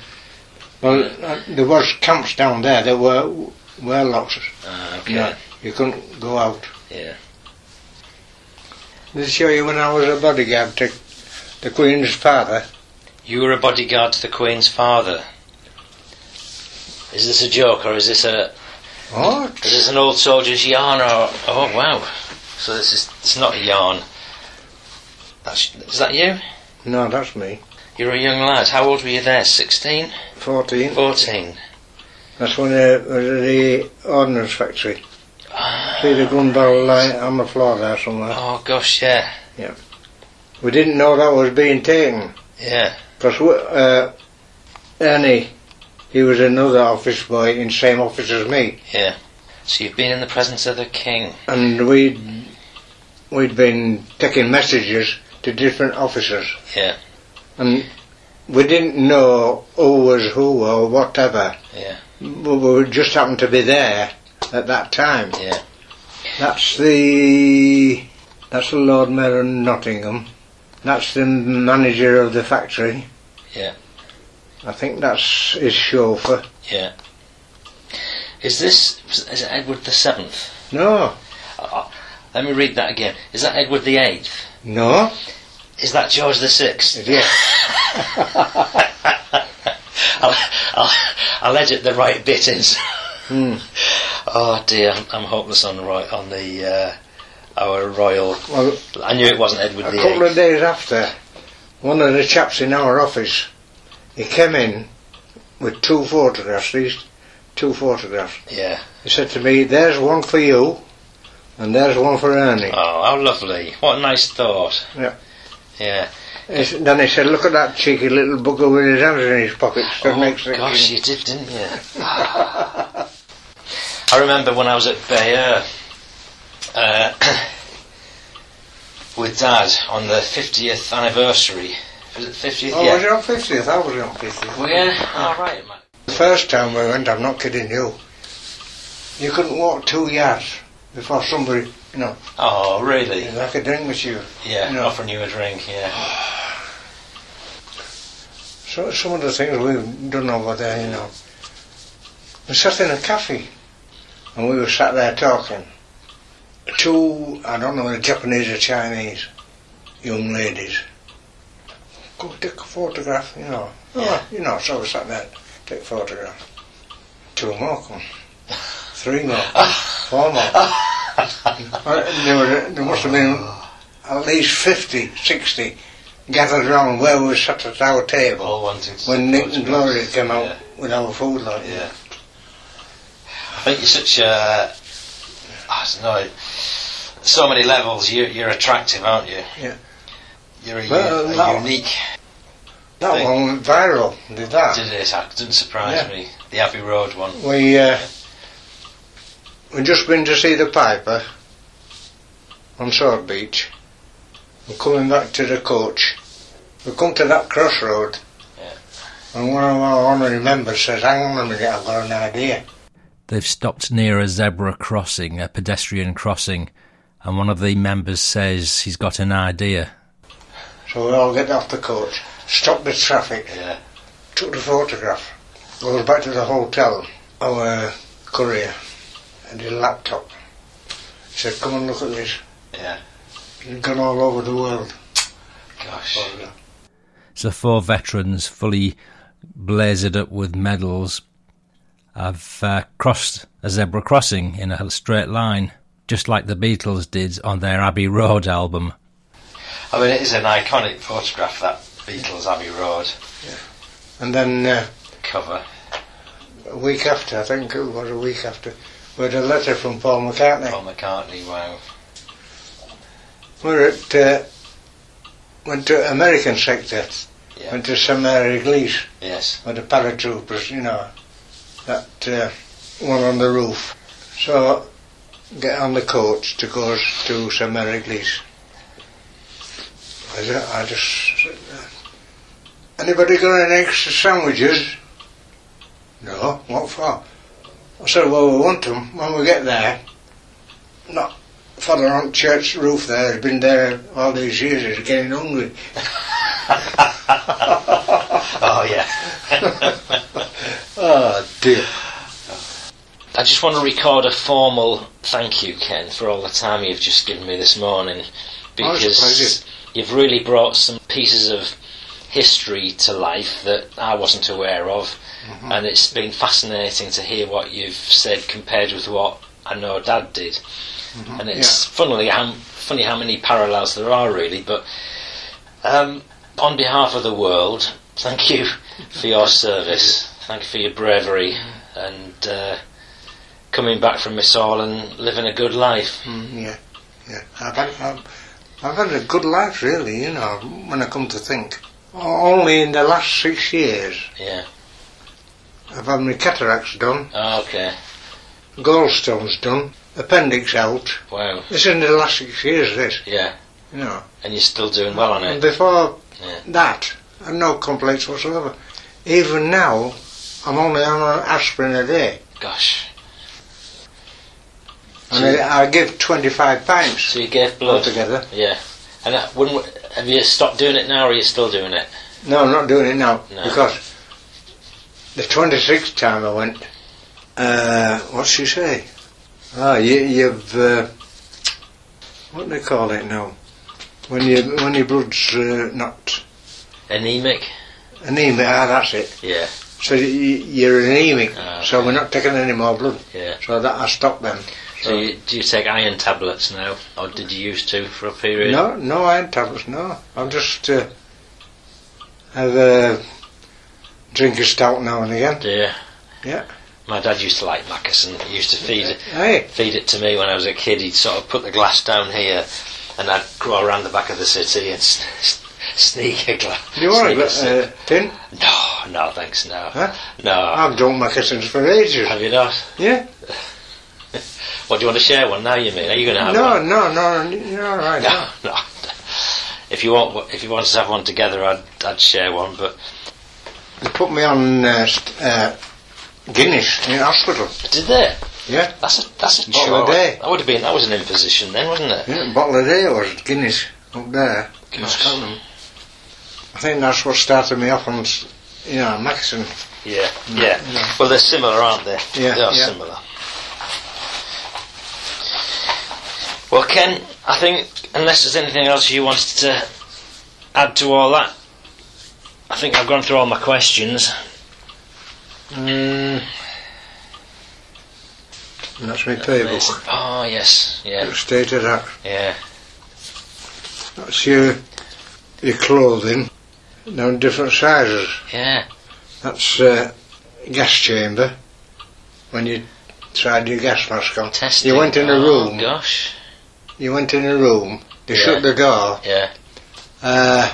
Speaker 2: Well, uh, there was camps down there. There were were locked.
Speaker 3: Ah, okay.
Speaker 2: Yeah. You couldn't go out.
Speaker 3: Yeah.
Speaker 2: Did it show you when I was a bodyguard to the Queen's father?
Speaker 3: You were a bodyguard to the Queen's father. Is this a joke or is this a
Speaker 2: What?
Speaker 3: is this an old soldier's yarn or oh wow? So this is it's not a yarn. That's, is that you?
Speaker 2: No, that's me.
Speaker 3: You're a young lad. How old were you there? 16?
Speaker 2: 14.
Speaker 3: 14?
Speaker 2: That's when I was at the ordnance factory.
Speaker 3: Ah,
Speaker 2: See the gun barrel lying on the floor there somewhere.
Speaker 3: Oh gosh, yeah,
Speaker 2: We didn't know that was being taken.
Speaker 3: yeah.
Speaker 2: Because uh, Ernie, he was another office boy in same office as me.
Speaker 3: So you've been in the presence of the king.
Speaker 2: And we'd, we'd been taking messages to different officers.
Speaker 3: Yeah.
Speaker 2: And we didn't know who was who or whatever.
Speaker 3: Yeah.
Speaker 2: We we just happened to be there at that time.
Speaker 3: Yeah.
Speaker 2: That's the that's the Lord Mayor of Nottingham. That's the manager of the factory.
Speaker 3: Yeah.
Speaker 2: I think that's his chauffeur.
Speaker 3: Is this is it Edward the Seventh?
Speaker 2: No,
Speaker 3: Let me read that again. Is that Edward the Eighth?
Speaker 2: no,
Speaker 3: Is that George the Sixth?
Speaker 2: yes,
Speaker 3: I'll, I'll, I'll edit the right bit in.
Speaker 2: Hmm.
Speaker 3: Oh dear, I'm, I'm hopeless on the roi- on the uh, our royal.
Speaker 2: Well,
Speaker 3: I knew it wasn't Edward
Speaker 2: a
Speaker 3: the
Speaker 2: couple
Speaker 3: Eighth.
Speaker 2: of days after, one of the chaps in our office, he came in with two photographs. These two photographs.
Speaker 3: Yeah.
Speaker 2: He said to me, "There's one for you, and there's one for Ernie."
Speaker 3: Oh, how lovely! What a nice thought.
Speaker 2: Yeah.
Speaker 3: Yeah.
Speaker 2: He s- Then he said, "Look at that cheeky little bugger with his hands in his pockets." Stood
Speaker 3: oh
Speaker 2: next to
Speaker 3: gosh,
Speaker 2: him.
Speaker 3: you did, didn't you? I remember when I was at Bayeux uh, with Dad on the 50th anniversary. Was it 50th?
Speaker 2: Oh,
Speaker 3: yeah.
Speaker 2: was it on 50th? I was on 50th.
Speaker 3: Well, yeah. All Oh, right, man.
Speaker 2: The first time we went, I'm not kidding you, you couldn't walk two yards before somebody, you know,
Speaker 3: Oh, really?
Speaker 2: like a drink with you.
Speaker 3: Yeah,
Speaker 2: No.
Speaker 3: offering you a drink, yeah.
Speaker 2: So some of the things we've done over there, you know. We sat in a cafe and we were sat there talking. Two, I don't know, whether Japanese or Chinese young ladies. Go take a photograph, you know.
Speaker 3: Yeah.
Speaker 2: Oh, you know, so we sat there, take a photograph. Two more come. Three more. come, Four more. come. Well, there, were, there must have been at least 50, 60 gathered round where we sat at our table
Speaker 3: All wanting to
Speaker 2: when Nick and Gloria came out
Speaker 3: Yeah.
Speaker 2: with our food like
Speaker 3: yeah. I think you're such a. I don't know. So many levels, you, you're attractive, aren't you?
Speaker 2: Yeah.
Speaker 3: You're a,
Speaker 2: Well,
Speaker 3: u- a
Speaker 2: no.
Speaker 3: unique.
Speaker 2: that
Speaker 3: Thing.
Speaker 2: one went viral. Did that?
Speaker 3: Did it? That didn't surprise
Speaker 2: Yeah.
Speaker 3: me. The Abbey Road one.
Speaker 2: We uh, we just been to see the Piper on Sword Beach. We're coming back to the coach. We come to that crossroad,
Speaker 3: Yeah.
Speaker 2: and one of our honorary members says, "Hang on a minute, I've got an idea."
Speaker 1: They've stopped near a zebra crossing, a pedestrian crossing, and one of the members says he's got an idea.
Speaker 2: So we all get off the coach, stop the traffic,
Speaker 3: Yeah.
Speaker 2: took the photograph, goes back to the hotel. Our courier had his laptop. He said, come and look at this.
Speaker 3: Yeah.
Speaker 2: It's gone all over the world.
Speaker 3: Gosh.
Speaker 1: So four veterans, fully blazered up with medals, have uh, crossed a zebra crossing in a straight line, just like the Beatles did on their Abbey Road album.
Speaker 3: I mean, it is an iconic photograph, that Beatles Abbey Road
Speaker 2: And then uh,
Speaker 3: cover.
Speaker 2: a week after, I think it was a week after, we had a letter from Paul McCartney.
Speaker 3: Paul McCartney, wow.
Speaker 2: We were at, uh, went to American sector,
Speaker 3: Yeah.
Speaker 2: went to St Mary Glees
Speaker 3: Yes.
Speaker 2: with the paratroopers, you know, that uh, one on the roof. So get on the coach to go s- to St Mary Glees. I ju- I just said, uh, anybody got any extra sandwiches? No, what for? I said, well, we want them when we get there. Not Father on church roof there, has been there all these years, he's getting hungry.
Speaker 3: oh yeah.
Speaker 2: Oh dear.
Speaker 3: I just want to record a formal thank you, Ken, for all the time you've just given me this morning,
Speaker 2: Oh, it's a
Speaker 3: because you've really brought some pieces of history to life that I wasn't aware of, and it's been fascinating to hear what you've said compared with what I know Dad did, and it's funnily how, funny how many parallels there are really. But um, on behalf of the world, thank you for your service, thank you for your bravery, and. Uh, coming back from Missal and living a good life.
Speaker 2: Mm, yeah, yeah. I've had, I've, I've had a good life, really, you know, when I come to think. O- Only in the last six years
Speaker 3: Yeah.
Speaker 2: I've had my cataracts done,
Speaker 3: Okay.
Speaker 2: gallstones done, appendix out.
Speaker 3: Wow.
Speaker 2: This is in the last six years, this,
Speaker 3: Yeah.
Speaker 2: you know.
Speaker 3: And you're still doing well on
Speaker 2: And
Speaker 3: it.
Speaker 2: before
Speaker 3: Yeah.
Speaker 2: that, I had no complaints whatsoever. Even now, I'm only on aspirin a day.
Speaker 3: Gosh.
Speaker 2: And I, I give 25 pints
Speaker 3: So you gave blood.
Speaker 2: altogether.
Speaker 3: Yeah. And that, when, have you stopped doing it now, or are you still doing it?
Speaker 2: No, I'm not doing it now
Speaker 3: No.
Speaker 2: because the 26th time I went, uh, what's she say? Ah, you, you've uh, what do they call it now? When you when your blood's uh, not
Speaker 3: Anemic.
Speaker 2: anemic, ah, that's it.
Speaker 3: Yeah.
Speaker 2: So you, you're anemic,
Speaker 3: Ah,
Speaker 2: so we're not taking any more blood.
Speaker 3: Yeah.
Speaker 2: So that I stopped them.
Speaker 3: So
Speaker 2: Oh.
Speaker 3: you, do you take iron tablets now, or did you used to for a period?
Speaker 2: No, no iron tablets. No, I'm just uh, have a drink of stout now and again.
Speaker 3: Yeah.
Speaker 2: Yeah.
Speaker 3: My dad used to like Macus and he used to feed it.
Speaker 2: Hey.
Speaker 3: feed it to me when I was a kid. He'd sort of put the glass down here, and I'd go around the back of the city and s- s- sneak a glass.
Speaker 2: You want a uh, tin?
Speaker 3: No, no, thanks, no,
Speaker 2: Huh?
Speaker 3: no.
Speaker 2: I've done moccasins for ages.
Speaker 3: Have you not?
Speaker 2: Yeah?
Speaker 3: What do you want to share one now? You mean? Are you going to have
Speaker 2: No,
Speaker 3: one?
Speaker 2: no, no, you're all nou, right.
Speaker 3: No, no. If you want, if you want us to have one together, I'd, I'd share one. But
Speaker 2: They put me on uh, st- uh, Guinness in hospital.
Speaker 3: did they?
Speaker 2: Yeah?
Speaker 3: That's a that's a
Speaker 2: Bottle a
Speaker 3: chore.
Speaker 2: day.
Speaker 3: That would have been that was an imposition then, wasn't it?
Speaker 2: yeah bottle a day was Guinness up there in
Speaker 3: Gosh.
Speaker 2: Scotland. I think that's what started me off on, s- you know, moccasin.
Speaker 3: Yeah, yeah. Well, they're similar, aren't they?
Speaker 2: Yeah,
Speaker 3: they are
Speaker 2: yeah.
Speaker 3: similar. Well, Ken, I think unless there's anything else you wanted to add to all that, I think I've gone through all my questions.
Speaker 2: Mm. And that's my playbook.
Speaker 3: Oh yes, yeah,
Speaker 2: State of that.
Speaker 3: yeah,
Speaker 2: That's your, your clothing. Now, different sizes.
Speaker 3: yeah,
Speaker 2: That's uh, gas chamber. When you tried your gas mask on,
Speaker 3: testing.
Speaker 2: you went in a
Speaker 3: Oh,
Speaker 2: room.
Speaker 3: Gosh,
Speaker 2: You went in a room. They
Speaker 3: Yeah.
Speaker 2: shut the door.
Speaker 3: yeah,
Speaker 2: Uh,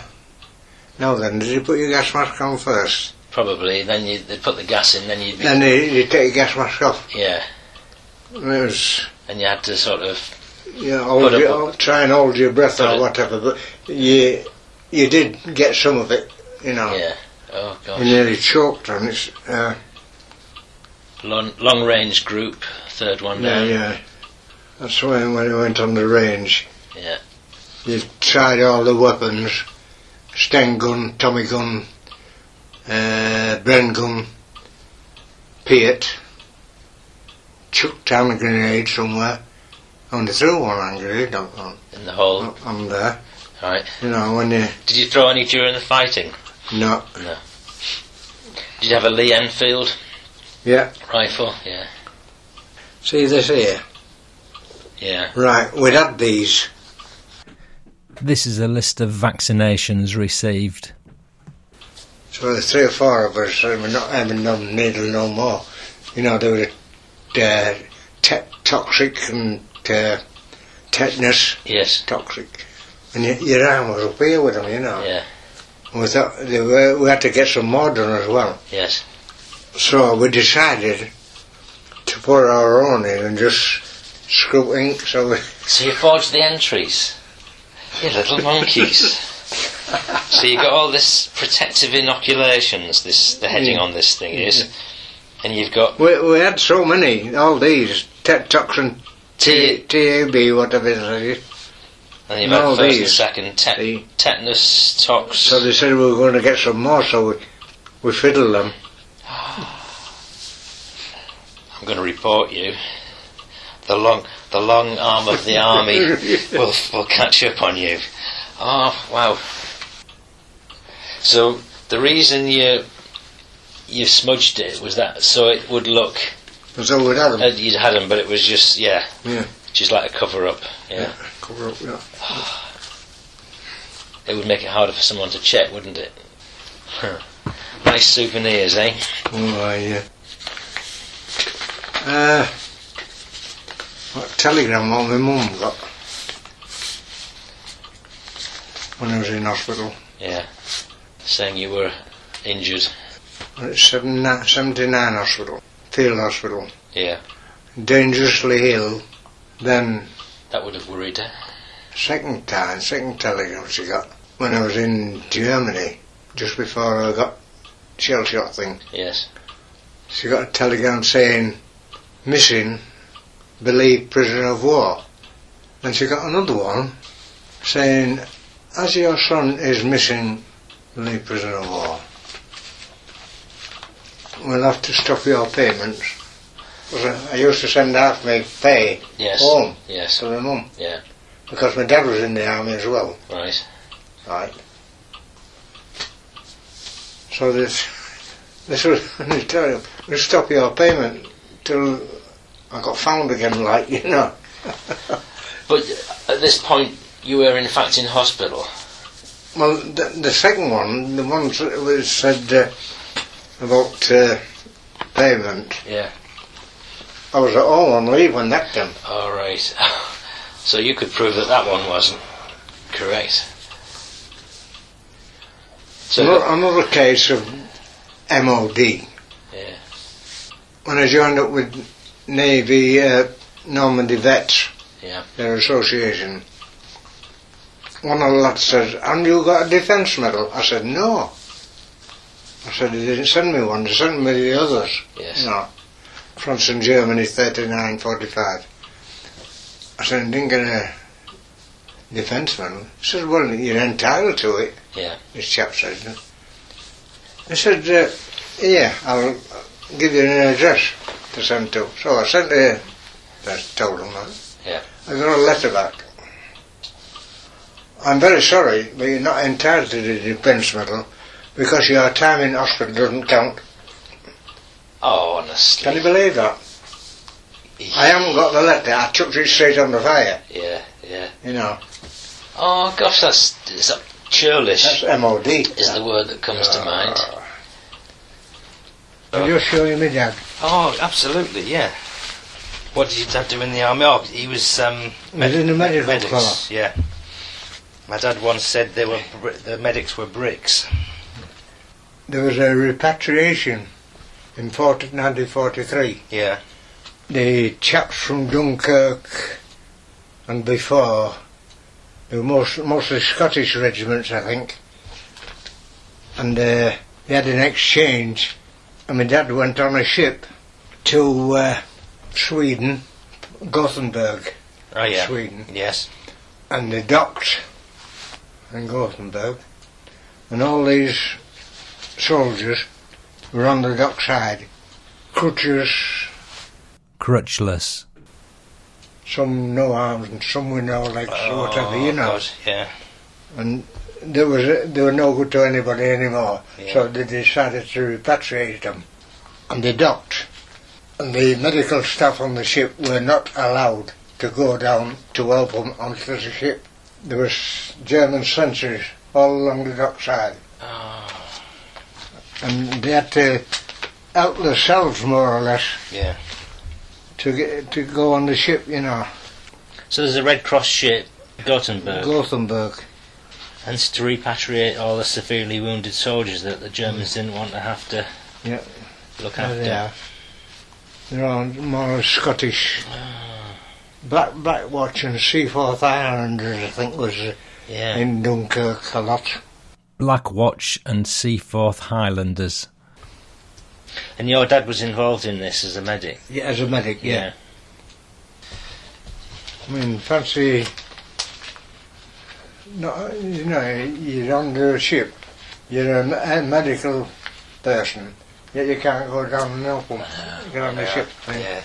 Speaker 2: now then, did you put your gas mask on first?
Speaker 3: probably. Then you they put the gas in, then you
Speaker 2: Then you, you take your gas mask off.
Speaker 3: yeah,
Speaker 2: It was,
Speaker 3: and you had to sort of
Speaker 2: you know, hold
Speaker 3: Put a-
Speaker 2: your, try and hold your breath
Speaker 3: Put
Speaker 2: or
Speaker 3: it-
Speaker 2: whatever, but you you did get some of it. You know,
Speaker 3: yeah. Oh
Speaker 2: you
Speaker 3: gosh,
Speaker 2: nearly choked on it. Uh,
Speaker 3: long long range group, third one
Speaker 2: yeah,
Speaker 3: down.
Speaker 2: yeah. That's when when I went on the range.
Speaker 3: yeah.
Speaker 2: You tried all the weapons, Sten gun, Tommy gun, uh, Bren gun, Piet, chucked down a grenade somewhere, only threw one hand grenade on, on,
Speaker 3: in the hole.
Speaker 2: on there.
Speaker 3: Right.
Speaker 2: You know, when you,
Speaker 3: Did you throw any during the fighting?
Speaker 2: no,
Speaker 3: Did you have a Lee Enfield
Speaker 2: yeah,
Speaker 3: rifle? Yeah.
Speaker 2: see this here?
Speaker 3: Yeah.
Speaker 2: Right, we had these.
Speaker 1: This is a list of vaccinations received.
Speaker 2: So the three or four of us, and we're not having no needle no more. You know, they were uh, te- toxic and uh, tetanus.
Speaker 3: Yes.
Speaker 2: toxic. And your, your arm was up here with them, you know.
Speaker 3: Yeah.
Speaker 2: And we thought they were, we had to get some more done as well.
Speaker 3: Yes.
Speaker 2: So we decided to put our own in and just screw ink. So we,
Speaker 3: So you forged the entries. You little monkeys. so you got all this protective inoculations. This the heading on this thing is, and you've got
Speaker 2: we, we had so many, all these, te- toxin, T-
Speaker 3: T.
Speaker 2: TAB, whatever it is.
Speaker 3: And you've
Speaker 2: No,
Speaker 3: had first and
Speaker 2: these.
Speaker 3: second tet-
Speaker 2: The-
Speaker 3: tetanus tox.
Speaker 2: So they said we were going to get some more, so we, we fiddled them.
Speaker 3: I'm going to report you. The long, the long arm of the army will will catch up on you. Oh wow! So the reason you you smudged it was that so it would look
Speaker 2: And so we'd have them.
Speaker 3: that you'd had them, but it was just yeah,
Speaker 2: Yeah.
Speaker 3: just like a cover up. Yeah,
Speaker 2: Uh, Cover up, yeah.
Speaker 3: it would make it harder for someone to check, wouldn't it? Huh. Nice souvenirs, eh?
Speaker 2: Oh, yeah. Uh, what telegram what my mum got when I was in hospital.
Speaker 3: Yeah, saying you were injured.
Speaker 2: I was at 79 79 hospital, field hospital.
Speaker 3: Yeah,
Speaker 2: Dangerously ill. Then,
Speaker 3: that would have worried her.
Speaker 2: second time, second telegram she got when I was in Germany, just before I got shell shock thing.
Speaker 3: Yes.
Speaker 2: She got a telegram saying, missing, believed prisoner of war. And she got another one saying, as your son is missing, believed prisoner of war. We'll have to stop your payments. 'Cause I- I used to send half my pay
Speaker 3: Yes.
Speaker 2: home
Speaker 3: Yes.
Speaker 2: to my mum.
Speaker 3: Yeah.
Speaker 2: Because my dad was in the army as well.
Speaker 3: Right.
Speaker 2: Right. So this this was an terrible. We stop your payment till I got found again, like you know.
Speaker 3: But at this point, you were in fact in hospital.
Speaker 2: Well, the, the second one, the one that was said uh, about uh, payment.
Speaker 3: Yeah.
Speaker 2: I was at home on leave when that came.
Speaker 3: All right. so you could prove that that one wasn't correct. So
Speaker 2: Another, another case of MOD.
Speaker 3: Yeah.
Speaker 2: When I joined up with Navy uh, Normandy Vets,
Speaker 3: Yeah.
Speaker 2: their association, one of the lads says, "And you got a defence medal?" I said, "No." I said, "They didn't send me one. They sent me the others."
Speaker 3: yes.
Speaker 2: No. France and Germany, thirty-nine, forty-five. I said, I didn't get a defence medal. He said, well, you're entitled to it.
Speaker 3: Yeah.
Speaker 2: This chap said. I said, uh, yeah, I'll give you an address to send to. So I sent the, I told him that.
Speaker 3: Yeah.
Speaker 2: I got a letter back. I'm very sorry, but you're not entitled to the defence medal because your time in hospital doesn't count.
Speaker 3: Oh, honestly.
Speaker 2: Can you believe that? I haven't got the letter. I chucked it straight on the fire.
Speaker 3: Yeah. Yeah.
Speaker 2: You know,
Speaker 3: Oh gosh, that's it's a churlish
Speaker 2: that's MOD.
Speaker 3: is the word that comes to mind.
Speaker 2: Will you show you me, Dad?
Speaker 3: Oh, absolutely. Yeah. What did your dad do in the army? Oh, he was um,
Speaker 2: He's in the medical
Speaker 3: medics.
Speaker 2: corps.
Speaker 3: Yeah. My dad once said they were br- the medics were bricks.
Speaker 2: There was a repatriation in 40 1943.
Speaker 3: Yeah.
Speaker 2: The chaps from Dunkirk and before, they were most, mostly Scottish regiments, I think, and uh, they had an exchange, and my dad went on a ship to uh, Sweden, Gothenburg.
Speaker 3: Oh yeah.
Speaker 2: Sweden.
Speaker 3: Yes.
Speaker 2: and they docked in Gothenburg, and all these soldiers were on the dockside, crutches,
Speaker 1: Crutchless.
Speaker 2: some no arms and some with no legs or whatever,
Speaker 3: Oh,
Speaker 2: you know.
Speaker 3: God, Yeah.
Speaker 2: And there was they were no good to anybody anymore,
Speaker 3: Yeah.
Speaker 2: so they decided to repatriate them, and they docked. And the medical staff on the ship were not allowed to go down to help them onto the ship. There was German sentries all along the dockside. Ah.
Speaker 3: Oh,
Speaker 2: and they had to help themselves more or less
Speaker 3: yeah.
Speaker 2: to get to go on the ship, you know,
Speaker 3: So there's a Red Cross ship, Gothenburg,
Speaker 2: Gothenburg.
Speaker 3: and it's to repatriate all the severely wounded soldiers that the Germans didn't want to have to
Speaker 2: Yeah.
Speaker 3: look
Speaker 2: There
Speaker 3: after.
Speaker 2: they are. They're all more Scottish. Black Blackwatch and Seaforth Islanders, I think, was uh,
Speaker 3: Yeah.
Speaker 2: in Dunkirk a lot.
Speaker 1: Black Watch and Seaforth Highlanders.
Speaker 3: And your dad was involved in this as a medic.
Speaker 2: Yeah, as a medic, I mean, fancy not, you know, you're on the ship, you're a, me- a medical person, yet you can't go down and help them get on the
Speaker 4: Yeah.
Speaker 2: ship.
Speaker 4: Yeah.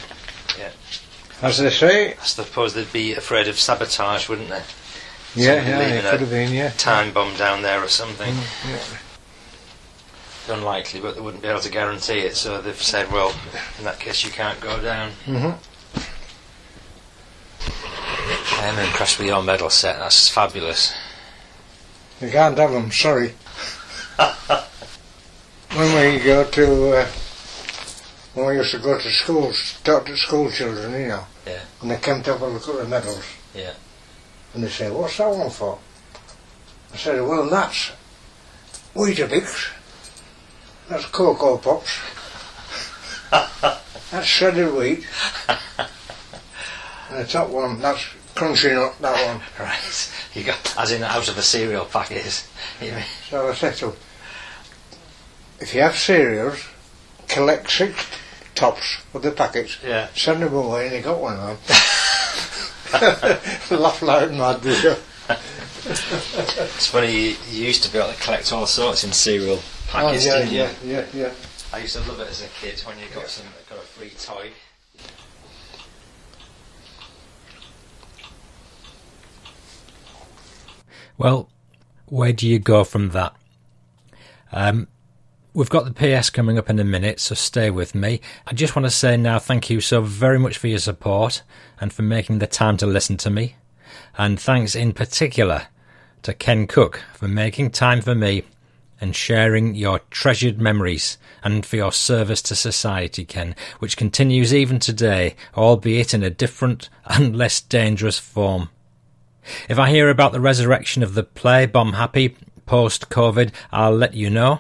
Speaker 2: As they say,
Speaker 4: I suppose they'd be afraid of sabotage, wouldn't they?
Speaker 2: yeah,
Speaker 4: Somebody
Speaker 2: yeah, it
Speaker 4: leaving a
Speaker 2: could have been, yeah.
Speaker 4: Time bomb down there or something.
Speaker 2: yeah.
Speaker 4: Unlikely, but they wouldn't be able to guarantee it, so they've said, well, in that case, you can't go down.
Speaker 2: hmm
Speaker 4: I'm impressed with your medal set, that's fabulous.
Speaker 2: You can't have them, sorry. when we go to, uh, when we used to go to schools, talk to school children, you know,
Speaker 4: Yeah.
Speaker 2: and they came up with a couple of medals.
Speaker 4: Yeah.
Speaker 2: And they said, what's that one for? I said, well, that's Weetabix. That's Cocoa Pops. that's shredded wheat. and the top one, that's Crunchy Nut, that one.
Speaker 4: Right. You got, as in, out of the cereal packets. You mean-
Speaker 2: So I said to him, if you have cereals, collect six tops of the packets,
Speaker 4: Yeah.
Speaker 2: send them away, and he got one of them. Laugh loud, mad, did you?
Speaker 4: It's funny, you, you used to be able to collect all sorts in cereal packets,
Speaker 2: Oh, yeah,
Speaker 4: didn't you?
Speaker 2: yeah, yeah, yeah.
Speaker 4: I used to love it as a kid when you got some got a free toy.
Speaker 1: Well, where do you go from that? Um, we've got the PS coming up in a minute, so stay with me. I just want to say now thank you so very much for your support and for making the time to listen to me. And thanks in particular to Ken Cook for making time for me and sharing your treasured memories and for your service to society, Ken, which continues even today, albeit in a different and less dangerous form. If I hear about the resurrection of the play Bomb Happy post COVID, I'll let you know.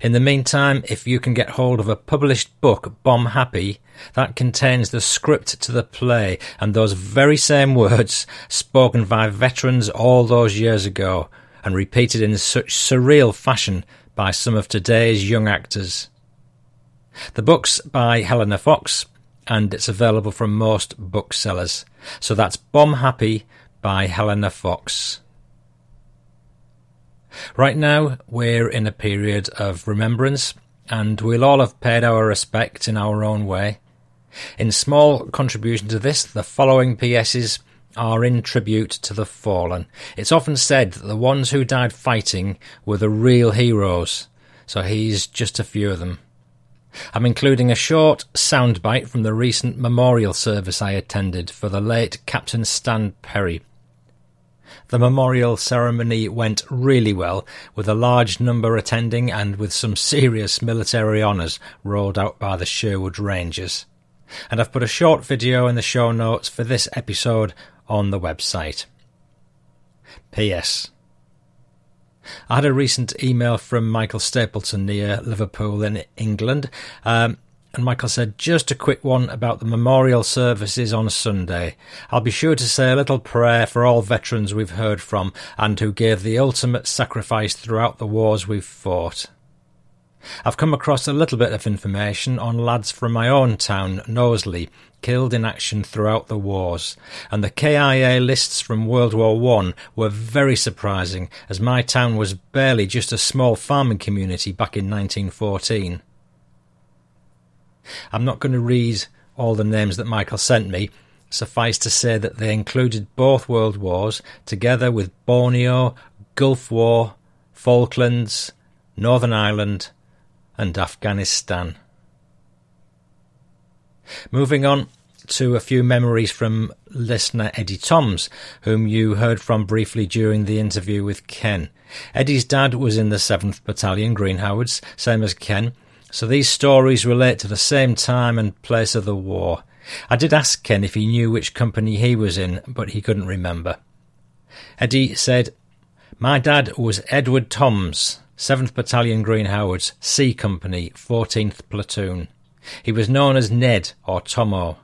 Speaker 1: In the meantime, if you can get hold of a published book, Bomb Happy, that contains the script to the play and those very same words spoken by veterans all those years ago and repeated in such surreal fashion by some of today's young actors. The book's by Helena Fox, and it's available from most booksellers. So that's Bomb Happy by Helena Fox. Right now, we're in a period of remembrance, and we'll all have paid our respect in our own way. In small contribution to this, the following PSs are in tribute to the fallen. It's often said that the ones who died fighting were the real heroes, so he's just a few of them. I'm including a short soundbite from the recent memorial service I attended for the late Captain Stan Perry. The memorial ceremony went really well, with a large number attending and with some serious military honours rolled out by the Sherwood Rangers. And I've put a short video in the show notes for this episode on the website. P.S. I had a recent email from Michael Stapleton near Liverpool in England. Um, and Michael said, just a quick one about the memorial services on Sunday. I'll be sure to say a little prayer for all veterans we've heard from and who gave the ultimate sacrifice throughout the wars we've fought. I've come across a little bit of information on lads from my own town, Knowsley, killed in action throughout the wars, and the KIA lists from World War One were very surprising, as my town was barely just a small farming community back in 1914. I'm not going to read all the names that Michael sent me. Suffice to say that they included both world wars, together with Borneo, Gulf War, Falklands, Northern Ireland, and Afghanistan. Moving on to a few memories from listener Eddie Toms, whom you heard from briefly during the interview with Ken. Eddie's dad was in the 7th Battalion, Green Howards, same as Ken, so these stories relate to the same time and place of the war. I did ask Ken if he knew which company he was in, but he couldn't remember. Eddie said, my dad was Edward Toms, 7th Battalion Green Howards, C Company, 14th Platoon. He was known as Ned or Tomo.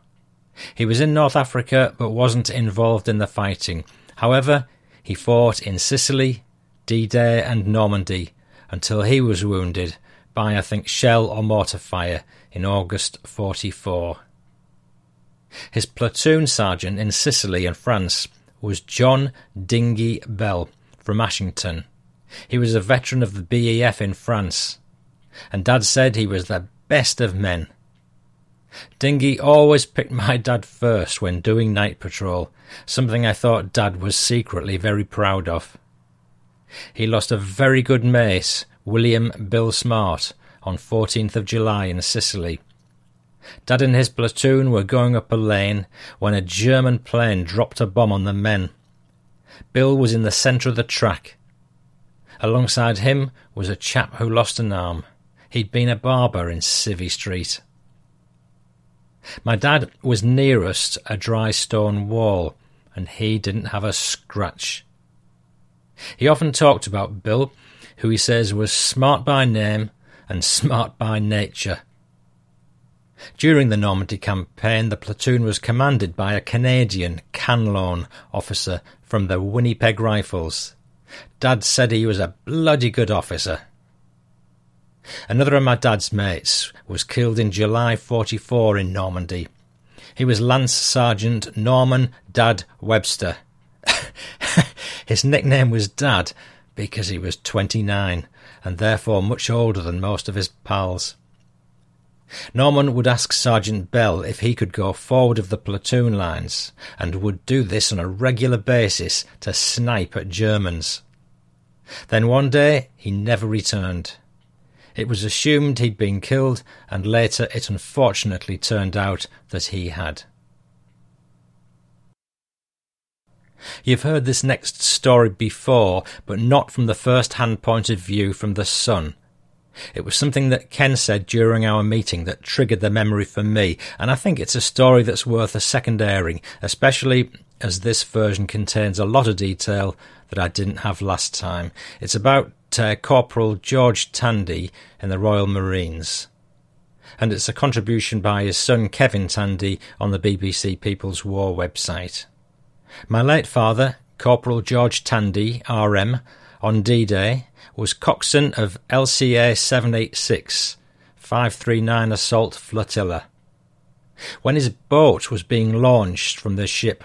Speaker 1: He was in North Africa but wasn't involved in the fighting. However, he fought in Sicily, D Day, and Normandy until he was wounded by, I think, shell or mortar fire in August 44. His platoon sergeant in Sicily and France was John Dingy Bell from Ashington. He was a veteran of the BEF in France, and Dad said he was the best of men. Dingy always picked my dad first when doing night patrol, something I thought Dad was secretly very proud of. He lost a very good mate, William Bill Smart, on 14th of July in Sicily. Dad and his platoon were going up a lane when a German plane dropped a bomb on the men. Bill was in the centre of the track. Alongside him was a chap who lost an arm. He'd been a barber in Civvy Street. My dad was nearest a dry stone wall, and he didn't have a scratch. He often talked about Bill, who he says was smart by name and smart by nature. During the Normandy campaign, the platoon was commanded by a Canadian Canlon officer from the Winnipeg Rifles. Dad said he was a bloody good officer. Another of my dad's mates was killed in July 44 in Normandy. He was Lance Sergeant Norman Dad Webster. His nickname was Dad because he was 29 and therefore much older than most of his pals. Norman would ask Sergeant Bell if he could go forward of the platoon lines, and would do this on a regular basis to snipe at Germans. Then one day he never returned. It was assumed he'd been killed, and later it unfortunately turned out that he had. You've heard this next story before, but not from the first hand point of view from the son. It was something that Ken said during our meeting that triggered the memory for me, and I think it's a story that's worth a second airing, especially as this version contains a lot of detail that I didn't have last time. It's about uh, Corporal George Tandy in the Royal Marines, and it's a contribution by his son Kevin Tandy on the BBC People's War website. My late father, Corporal George Tandy, RM, on D Day, was coxswain of LCA 786, 539 Assault Flotilla. When his boat was being launched from the ship,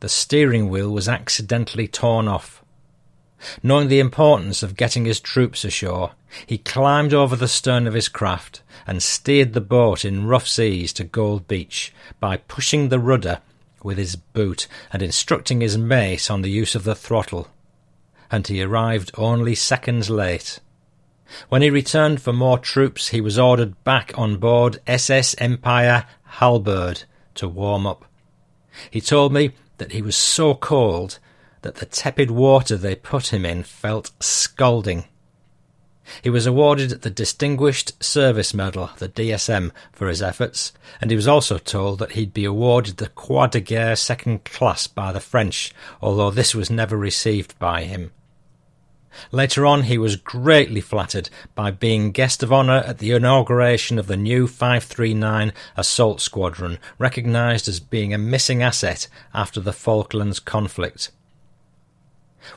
Speaker 1: the steering wheel was accidentally torn off. Knowing the importance of getting his troops ashore, he climbed over the stern of his craft and steered the boat in rough seas to Gold Beach by pushing the rudder with his boot and instructing his mate on the use of the throttle and he arrived only seconds late. When he returned for more troops, he was ordered back on board SS Empire Halberd to warm up. He told me that he was so cold that the tepid water they put him in felt scalding. He was awarded the Distinguished Service Medal, the DSM, for his efforts, and he was also told that he'd be awarded the Croix de Guerre Second Class by the French, although this was never received by him. Later on, he was greatly flattered by being guest of honour at the inauguration of the new 539 Assault Squadron, recognised as being a missing asset after the Falklands conflict.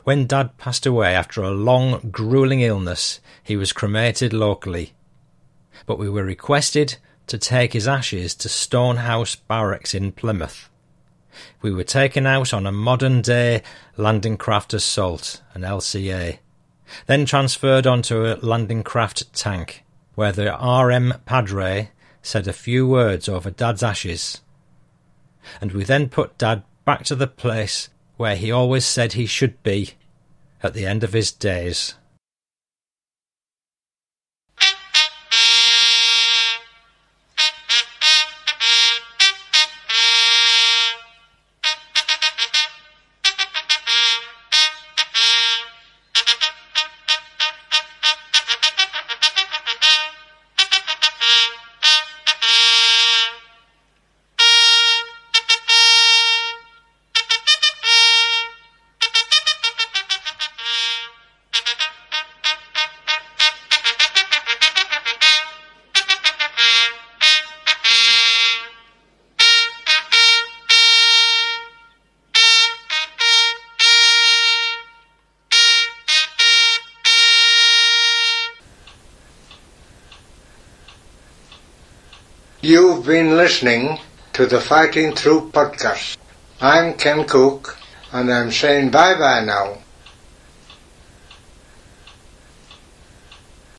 Speaker 1: When Dad passed away after a long, grueling illness, he was cremated locally. But we were requested to take his ashes to Stonehouse Barracks in Plymouth. We were taken out on a modern day landing craft assault, an LCA, then transferred onto a landing craft tank, where the RM Padre said a few words over Dad's ashes. And we then put Dad back to the place where he always said he should be at the end of his days.
Speaker 2: You've been listening to the Fighting Through podcast. I'm Ken Cook, and I'm saying bye bye now.